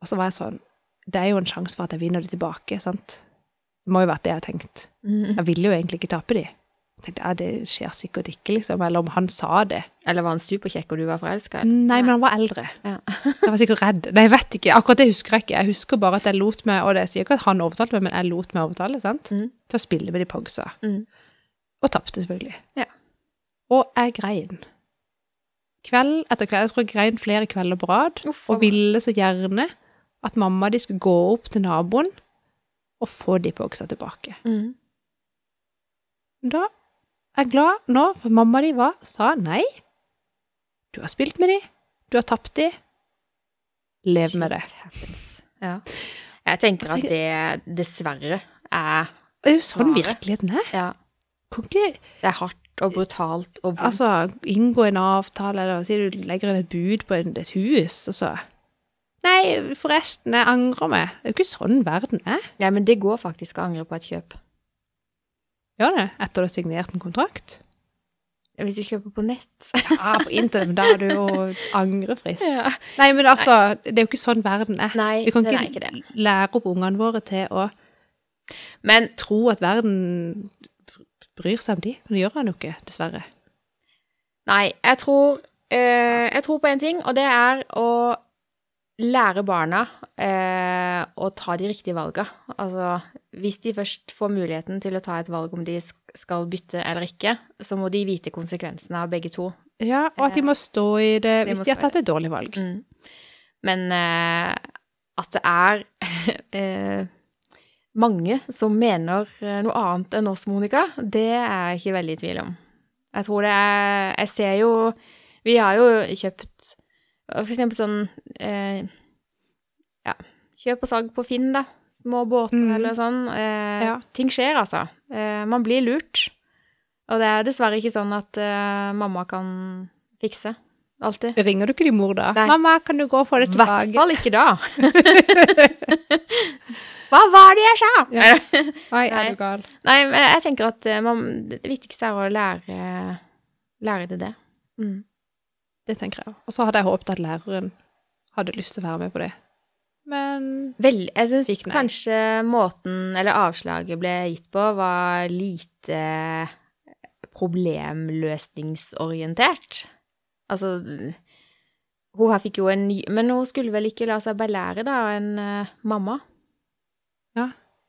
Og så var jeg sånn Det er jo en sjanse for at jeg vinner de tilbake, sant? Det må jo vært det jeg har tenkt. Mm. Jeg ville jo egentlig ikke tape de. Jeg tenkte, ja, det skjer sikkert ikke, liksom. Eller om han sa det. Eller var han superkjekk og du var forelska? Nei, men han var eldre. Ja. Jeg var sikkert redd. Nei, jeg vet ikke. Akkurat det husker jeg ikke. Jeg husker bare at jeg lot meg, og det sier ikke at han overtalte meg, men jeg lot meg overtale, sant? Mm. Til å spille med de pogsa. Mm. Og tapte, selvfølgelig. Ja. Og jeg grein. Kveld etter kveld. Jeg tror jeg grein flere kvelder på rad. Uff, og ville så gjerne at mamma og de skulle gå opp til naboen og få de pogsa tilbake. Mm. Da er jeg glad nå, for mamma og de var, sa nei. Du har spilt med de, du har tapt de. Lev med det. Shit happens. Ja. Jeg tenker at Altså, det dessverre er Det er jo sånn Svaret. virkeligheten er. ja, Kan ikke Det er hardt og brutalt og vondt. altså, inngå en avtale, eller si du legger inn et bud på en, et hus, og så Nei, forresten, jeg angrer meg. Det er jo ikke sånn verden er. ja, men det går faktisk å angre på et kjøp. Gjør det? Etter du har signert en kontrakt? Hvis du kjøper på nett. Ja, på internett, men da er du jo angrefrist. Ja. Nei, men altså, det er jo ikke sånn verden er. Nei, Vi kan den ikke, er ikke det. lære opp ungene våre til å Men tro at verden bryr seg om de, men det gjør han jo ikke, dessverre. Nei, jeg tror, eh, jeg tror på en ting, og det er å lære barna eh, å ta de riktige valgene. Altså, hvis de først får muligheten til å ta et valg om de sk- skal bytte eller ikke, så må de vite konsekvensene av begge to. Ja, og at de må stå i det, De hvis må de har stå i tatt et dårlig valg. Mm. Men eh, at det er eh, mange som mener eh, noe annet enn oss, Monica, det er jeg ikke veldig i tvil om. Jeg tror det er Jeg ser jo Vi har jo kjøpt eh, for eksempel sånn eh, Ja, kjøp og salg på Finn, da. Små båter Mm. eller sånn. Eh, Ja. Ting skjer, altså. Eh, man blir lurt. Og det er dessverre ikke sånn at eh, mamma kan fikse. Alltid. Mm. Ringer du ikke de mor da? Nei. 'Mamma, kan du gå og få det I hvert tilbake?' fall ikke da. Hva var det jeg sa? Ja. Nei, er Nei. du gal? Nei, men jeg tenker at eh, man, det viktigste er å lære, lære det det. Mm. Det tenker jeg òg. Og så hadde jeg håpet at læreren hadde lyst til å være med på det. men Vel, jeg syns Fikk nei. kanskje måten eller avslaget ble gitt på, var lite problemløsningsorientert. Altså Hun her fikk jo en ny Men hun skulle vel ikke la seg belære, da, av en eh, mamma,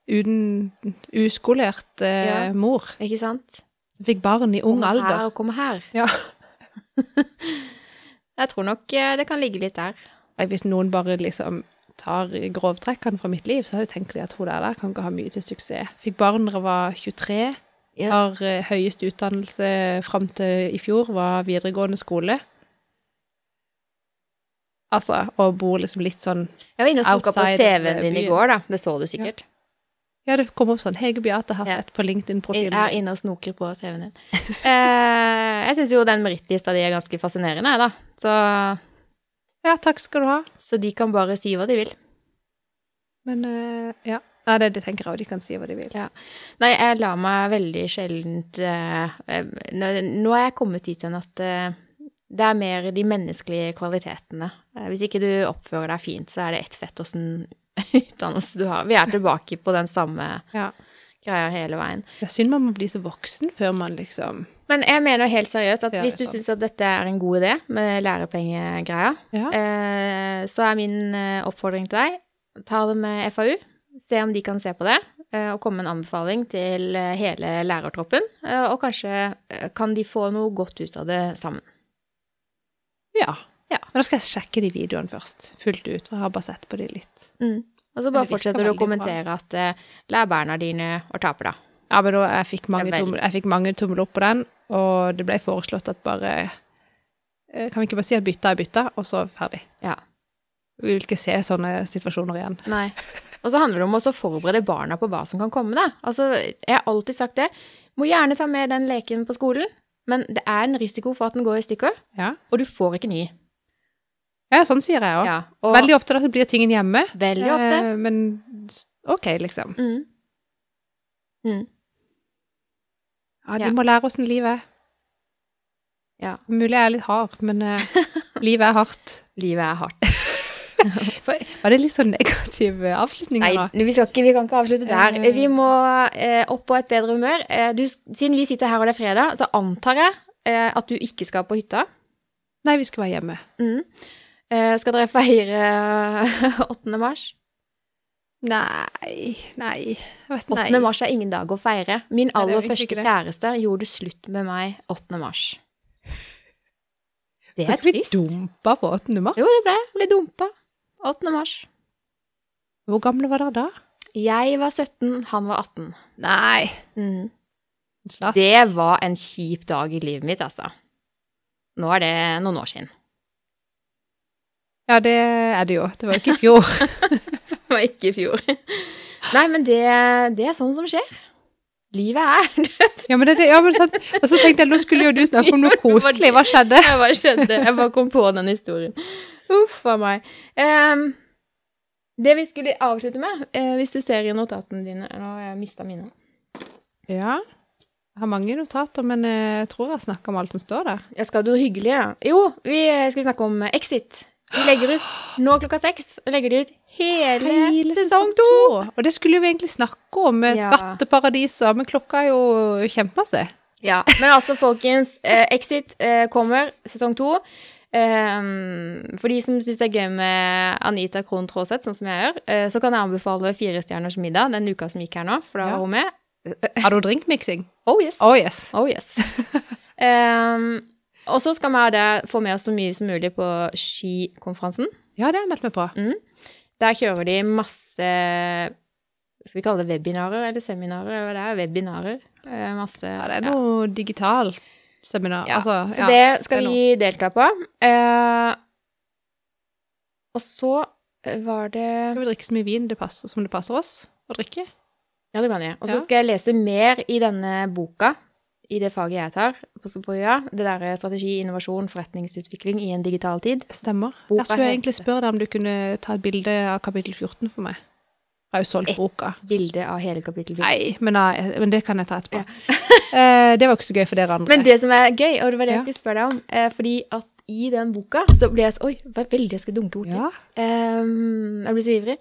uten uskolert eh, Ja. mor ikke sant? som fikk barn i ung Komme alder. Her og komme her. Ja. jeg tror nok eh, det kan ligge litt der. Nei, Hvis noen bare liksom tar grovtrekkene fra mitt liv, så hadde jeg tenkt at hun der, der kan ikke ha mye til suksess. Fikk barn da jeg var 23, Ja. har eh, høyest utdannelse fram til i fjor, var videregående skole. Altså, og bor liksom litt sånn Jeg var inne og snakka på Outside eh, CV-en din i byen. går, da. Det så du sikkert. Ja, det kom opp sånn Hege Beate har Ja. sett på Jeg LinkedIn-profilen. er inne og snoker på CV-en din. eh, jeg syns jo den merittlista di er ganske fascinerende, jeg, da. Ja, takk skal du ha. Så, så de kan bare si hva de vil. Men eh, ja. Nei, det, det tenker jeg òg. De kan si hva de vil. Nei, jeg lar meg veldig sjeldent eh, eh, Nå nå er jeg kommet dit hen at eh, det er mer de menneskelige kvalitetene. Eh, Hvis ikke du oppfører deg fint, så er det ett fett åssen utdannelse du har. Vi er tilbake på den samme Ja. greia hele veien. Det er synd man må bli så voksen før man liksom Men jeg mener helt seriøst at Ser hvis det du sånn. syns at dette er en god idé med lærepengegreia, Ja. eh, så er min eh, oppfordring til deg ta det med FAU, se om de kan se på det, eh, og komme med en anbefaling til eh, hele lærertroppen. eh, Og kanskje eh, kan de få noe godt ut av det sammen. Ja. Ja. Men da skal jeg sjekke de videoene først, fullt ut. For jeg har bare sett på de litt. Mm. Men Og så bare det virker fortsetter du å veldig kommentere at eh, lær barna dine å tape, da. Ja, men da, jeg fikk mange, Ja, vel. tommel, jeg fikk mange tommel opp på den, og det ble foreslått at bare eh, Kan vi ikke bare si at bytta er bytta, og så ferdig? Ja. Vi vil ikke se sånne situasjoner igjen. Nei. Og så handler det om også å forberede barna på hva som kan komme, da. Altså, jeg har alltid sagt det. Må gjerne ta med den leken på skolen, men det er en risiko for at den går i stykker, Ja, og du får ikke ny. ja sånn sier jeg òg. Ja, og veldig, Veldig ofte da så blir tingen hjemme. ofte. Eh, men OK, liksom. Mm. Mm. Ja, Ja. de må lære åssen livet er. Ja. Mulig jeg er litt hard, men eh, livet er hardt. Livet er hardt. Var det litt sånn negativ eh, avslutning Nei, her nå? vi, skal ikke, vi kan ikke avslutte der. Eh. Vi må eh, opp på et bedre humør. Eh, du, siden vi sitter her og det er fredag, så antar jeg eh, at du ikke skal på hytta. Nei, vi skal være hjemme. Mm. Eh, skal dere feire 8. mars? Nei, nei, jeg vet 8. nei. mars er ingen dag å feire. Nei, Min det er aller jo egentlig første ikke det. kjæreste gjorde slutt med meg 8. mars. Det er Ble vi trist. dumpa på 8. mars? Jo, det ble. Jeg Ble dumpa. 8. mars. Hvor gamle var dere da? Jeg var 17, han var 18. Nei. Mm. Slapp. Det var en kjip dag i livet mitt, altså. Nå er det noen år siden. Ja, det er det jo. Det var jo ikke i fjor. Det var ikke i fjor. Nei, men det, det er sånn som skjer. Livet er Ja, men det, er det, ja, men sant. Og så tenkte jeg, nå skulle jo du snakke om noe koselig. Hva skjedde? Jeg bare skjønte, jeg bare kom på den historien. Uff a meg. Ehm, det vi skulle avslutte med, eh, hvis du ser i notatene dine Nå har jeg mista mine. Ja. Jeg har mange notater, men eh, jeg tror jeg snakker om alt som står der. Jeg skal du hyggelig, ja. Jo, vi eh, skulle snakke om Exit. Vi legger ut nå klokka seks. og Legger de ut hele, sesong to. Og det skulle vi egentlig snakke om, eh, Ja. skatteparadiser, men klokka er jo kjempemasse. Ja, Men altså, folkens, eh, Exit eh, kommer, sesong to. Ehm, for de som syns det er gøy med Anita Krohn Traaseth, sånn som jeg gjør, eh, så kan jeg anbefale Fire stjerners middag den uka som gikk her nå, for Ja. da var hun med. Har du drinkmiksing? Oh yes. Oh yes. Oh yes. Ehm, og så skal vi ha det, få med oss så mye som mulig på skikonferansen. Ja, det har jeg meldt meg på. Der kjører de masse Skal vi kalle det webinarer eller seminarer? Eller hva det er? Webinarer. Eh, masse Ja, det er noe digitalt seminar. Ja, Altså, Så ja. det skal det er vi delta på. Eh, og så eh, var det Skal vi drikke så mye vin det passer, som det passer oss å drikke? Ja, det kan jeg. Og så Ja. skal jeg lese mer i denne boka, i det faget jeg tar på på UiA. Det derre strategi, innovasjon, forretningsutvikling i en digital tid. Stemmer. Boka Der skulle jeg heter- egentlig spørre deg om du kunne ta et bilde av kapittel 14 for meg. Jeg har jo solgt Et boka. Bilde av hele kapittel 4. Nei, men, nei, men det kan jeg ta etterpå. Eh, det var ikke så gøy for dere andre. Men det som er gøy, og det var det Ja. jeg skulle spørre deg om, eh, fordi at i den boka, så ble jeg så Oi, det var veldig jeg skulle dunke borti. Ja. Ehm, jeg blir så ivrig.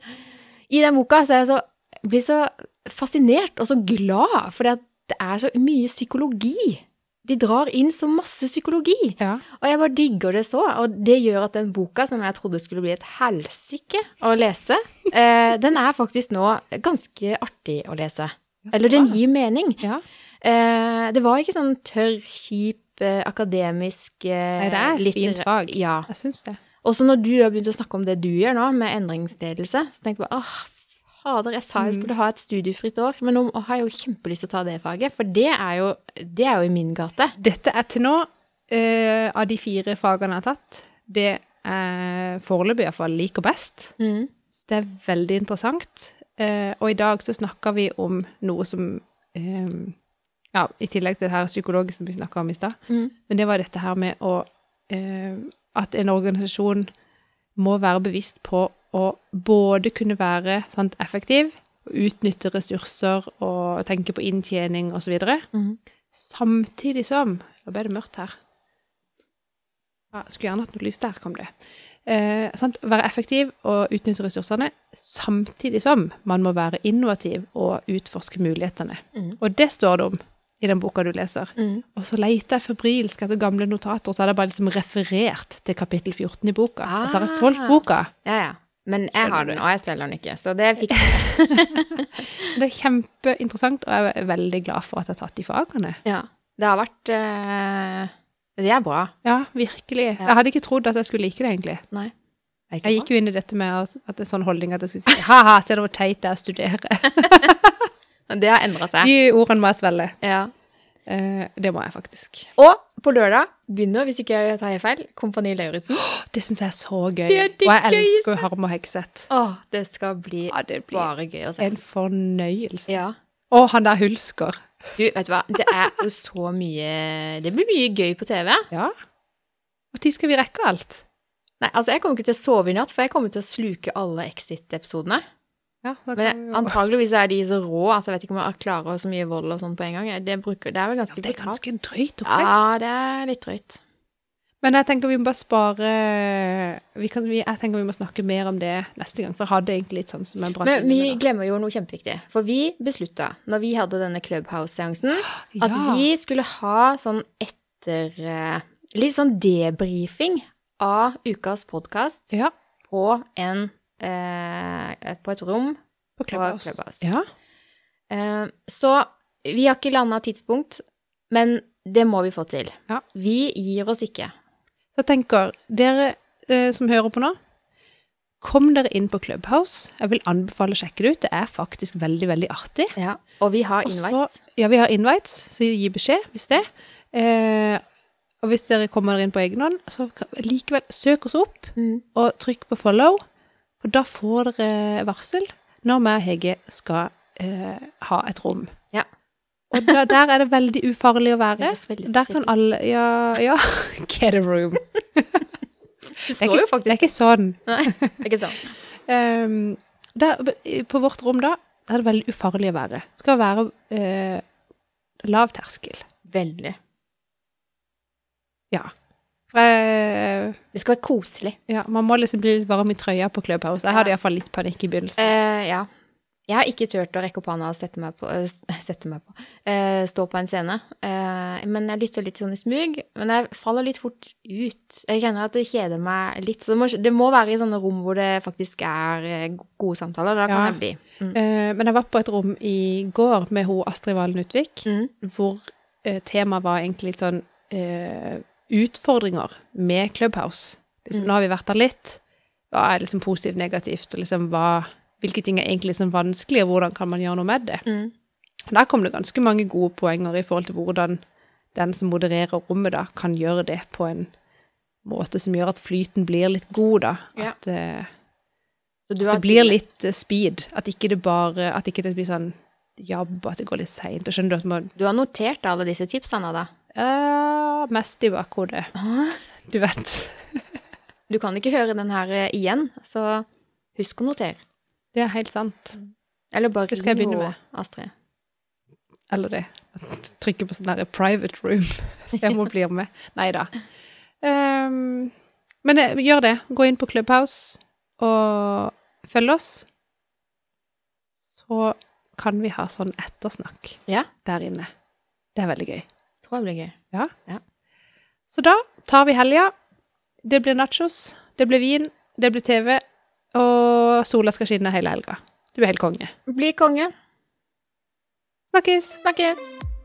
I den boka så er jeg så, blir så fascinert og så glad, fordi at det er så mye psykologi. De drar inn så masse psykologi. ja. Og jeg bare digger det så. Og det gjør at den boka, som jeg trodde skulle bli et helsike å lese, eh, den er faktisk nå ganske artig å lese. Eller den gir mening. Ja. Eh, det var ikke sånn tørr, kjip, eh, akademisk eh, Nei, det er et fint litter- fag. Ja. Jeg syns det. Og så når du da begynte å snakke om det du gjør nå, med endringsledelse, så tenkte jeg bare åh, fader, jeg sa Mm. jeg skulle ha et studiefritt år, men nå har jeg jo kjempelyst til å ta det faget, for det er jo, det er jo i min gate. Dette er til nå, eh, av de fire fagene jeg har tatt, det jeg foreløpig iallfall liker best. Så det er veldig interessant. Eh, og i dag så snakker vi om noe som eh, Ja, i tillegg til det her psykologiske som vi snakka om i stad. Mm. Men det var dette her med å eh, At en organisasjon må være bevisst på å både kunne være sant, effektiv, utnytte ressurser og tenke på inntjening osv. mm, Mhm. Samtidig som Nå ble det mørkt her. Ja, skulle gjerne hatt noe lys. Der kom det. Eh, sant? Være effektiv og utnytte ressursene, samtidig som man må være innovativ og utforske mulighetene. Mhm. Og det står det om i den boka du leser. Mm. Og så leter jeg febrilsk etter gamle notater, og så hadde jeg bare liksom referert til kapittel 14 i boka. Og så har jeg solgt boka. Ja, ja. Men jeg har den, og jeg selger den ikke, så det fikk jeg. Det er kjempeinteressant, og jeg er veldig glad for at jeg har tatt de fagene. Ja. Det har vært eh, Det er bra. Ja, virkelig. Jeg hadde ikke trodd at jeg skulle like det, egentlig. Nei. Jeg gikk jo inn i dette med at, at det er sånn holdning at jeg skulle si ha-ha, se det hvor teit det er å studere. Det har endra seg. De ordene må jeg svelge. Ja. Eh, det må jeg faktisk. Og på lørdag begynner, hvis ikke jeg tar helt feil, Kompani Lauritzen. Det syns jeg er så gøy. Det er det og jeg elsker gøyeste. jo Harm og Hegseth. Å, det skal bli Ja, det blir bare gøy å se. en fornøyelse. Ja. Og han der Hulsker. Du, vet du hva, det er jo så mye Det blir mye gøy på TV. Ja. Når skal vi rekke alt? Nei, altså, jeg kommer ikke til å sove i natt, for jeg kommer til å sluke alle Exit-episodene. Ja, da kan vi Men jo- antageligvis er de så rå at jeg vet ikke om jeg klarer så mye vold og sånn på en gang. Det, bruker, det er vel ganske det er brutalt. ganske drøyt opplegg. Ja, det er litt drøyt. Men jeg tenker vi må bare spare vi kan, vi, Jeg tenker vi må snakke mer om det neste gang, for jeg hadde egentlig litt sånn som en brann Men vi inne med glemmer jo noe kjempeviktig. For vi beslutta, når vi hadde denne Clubhouse-seansen, nå. at Ja. vi skulle ha sånn etter eh, Litt sånn debrifing av ukas podkast Ja, på en eh, På et rom på på Clubhouse. Clubhouse. Ja. Eh, Så vi har ikke landa tidspunkt, men det må vi få til. Ja. Vi gir oss ikke. Så jeg tenker, dere eh, som hører på nå, kom dere inn på Clubhouse. Jeg vil anbefale å sjekke det ut. Det er faktisk veldig, veldig artig. Ja, og vi har Og så- invites. Ja, vi har invites, så gi beskjed hvis det. Eh, og hvis dere kommer dere inn på egen hånd, så kan- likevel søk oss opp Mm. og trykk på follow, for da får dere varsel når vi og Hege skal eh, ha et rom. Ja. Og der, der er det veldig ufarlig å være. Høres veldig Der kan spesielt ut. alle Ja, ja. get a room. Det Det står er jo ikke, det er ikke sånn. faktisk ikke sånn. Ehm, der, på vårt rom da, der er det veldig ufarlig å være. Det skal være eh, lav terskel. Veldig. For jeg, Det skal være koselig. ja, man må liksom bli litt varm i trøya på Clubhouse. Jeg hadde iallfall litt panikk i begynnelsen. Eh, ja. Jeg har ikke turt å rekke opp hånda og sette meg på, eh, sette meg på eh, stå på en scene. Eh, men jeg lytter litt sånn i smug. Men jeg faller litt fort ut. Jeg kjenner at det kjeder meg litt. Så det må, det må være i sånne rom hvor det faktisk er eh, gode samtaler. Da kan Ja. jeg bli. Mm. Eh, men jeg var på et rom i går med hun Astrid Valen Utvik, Mm. hvor eh, temaet var egentlig litt sånn eh, utfordringer med Clubhouse. Liksom, Mm. Nå har vi vært der litt. Hva er liksom positivt, negativt, og liksom hva, hvilke ting er egentlig liksom vanskelig, og hvordan kan man gjøre noe med det? Mm. Der kom det ganske mange gode poenger i forhold til hvordan den som modererer rommet, da, kan gjøre det på en måte som gjør at flyten blir litt god, da. Ja. At eh, Så du har det blir tid- litt eh, speed. At ikke det bare At ikke det blir sånn jabb, at det går litt seint. Og skjønner du at man Du har notert alle disse tipsene, da? eh, Mest i bakhodet. Du vet. Du kan ikke høre den her eh, igjen, så husk å notere. Det er helt sant. Eller bare Det skal jeg ring begynne henne, med. Astrid. Eller det. At Trykke på sånn derre private room. Så jeg må bli med. Nei da. Ehm, men eh, gjør det. Gå inn på Clubhouse og følg oss. Så kan vi ha sånn ettersnakk Ja. der inne. Det er veldig gøy. Tror jeg blir gøy. Så da tar vi helga. Det blir nachos, det blir vin, det blir TV, og sola skal skinne hele helga. Du er helt konge. Bli konge. Snakkes! Snakkes!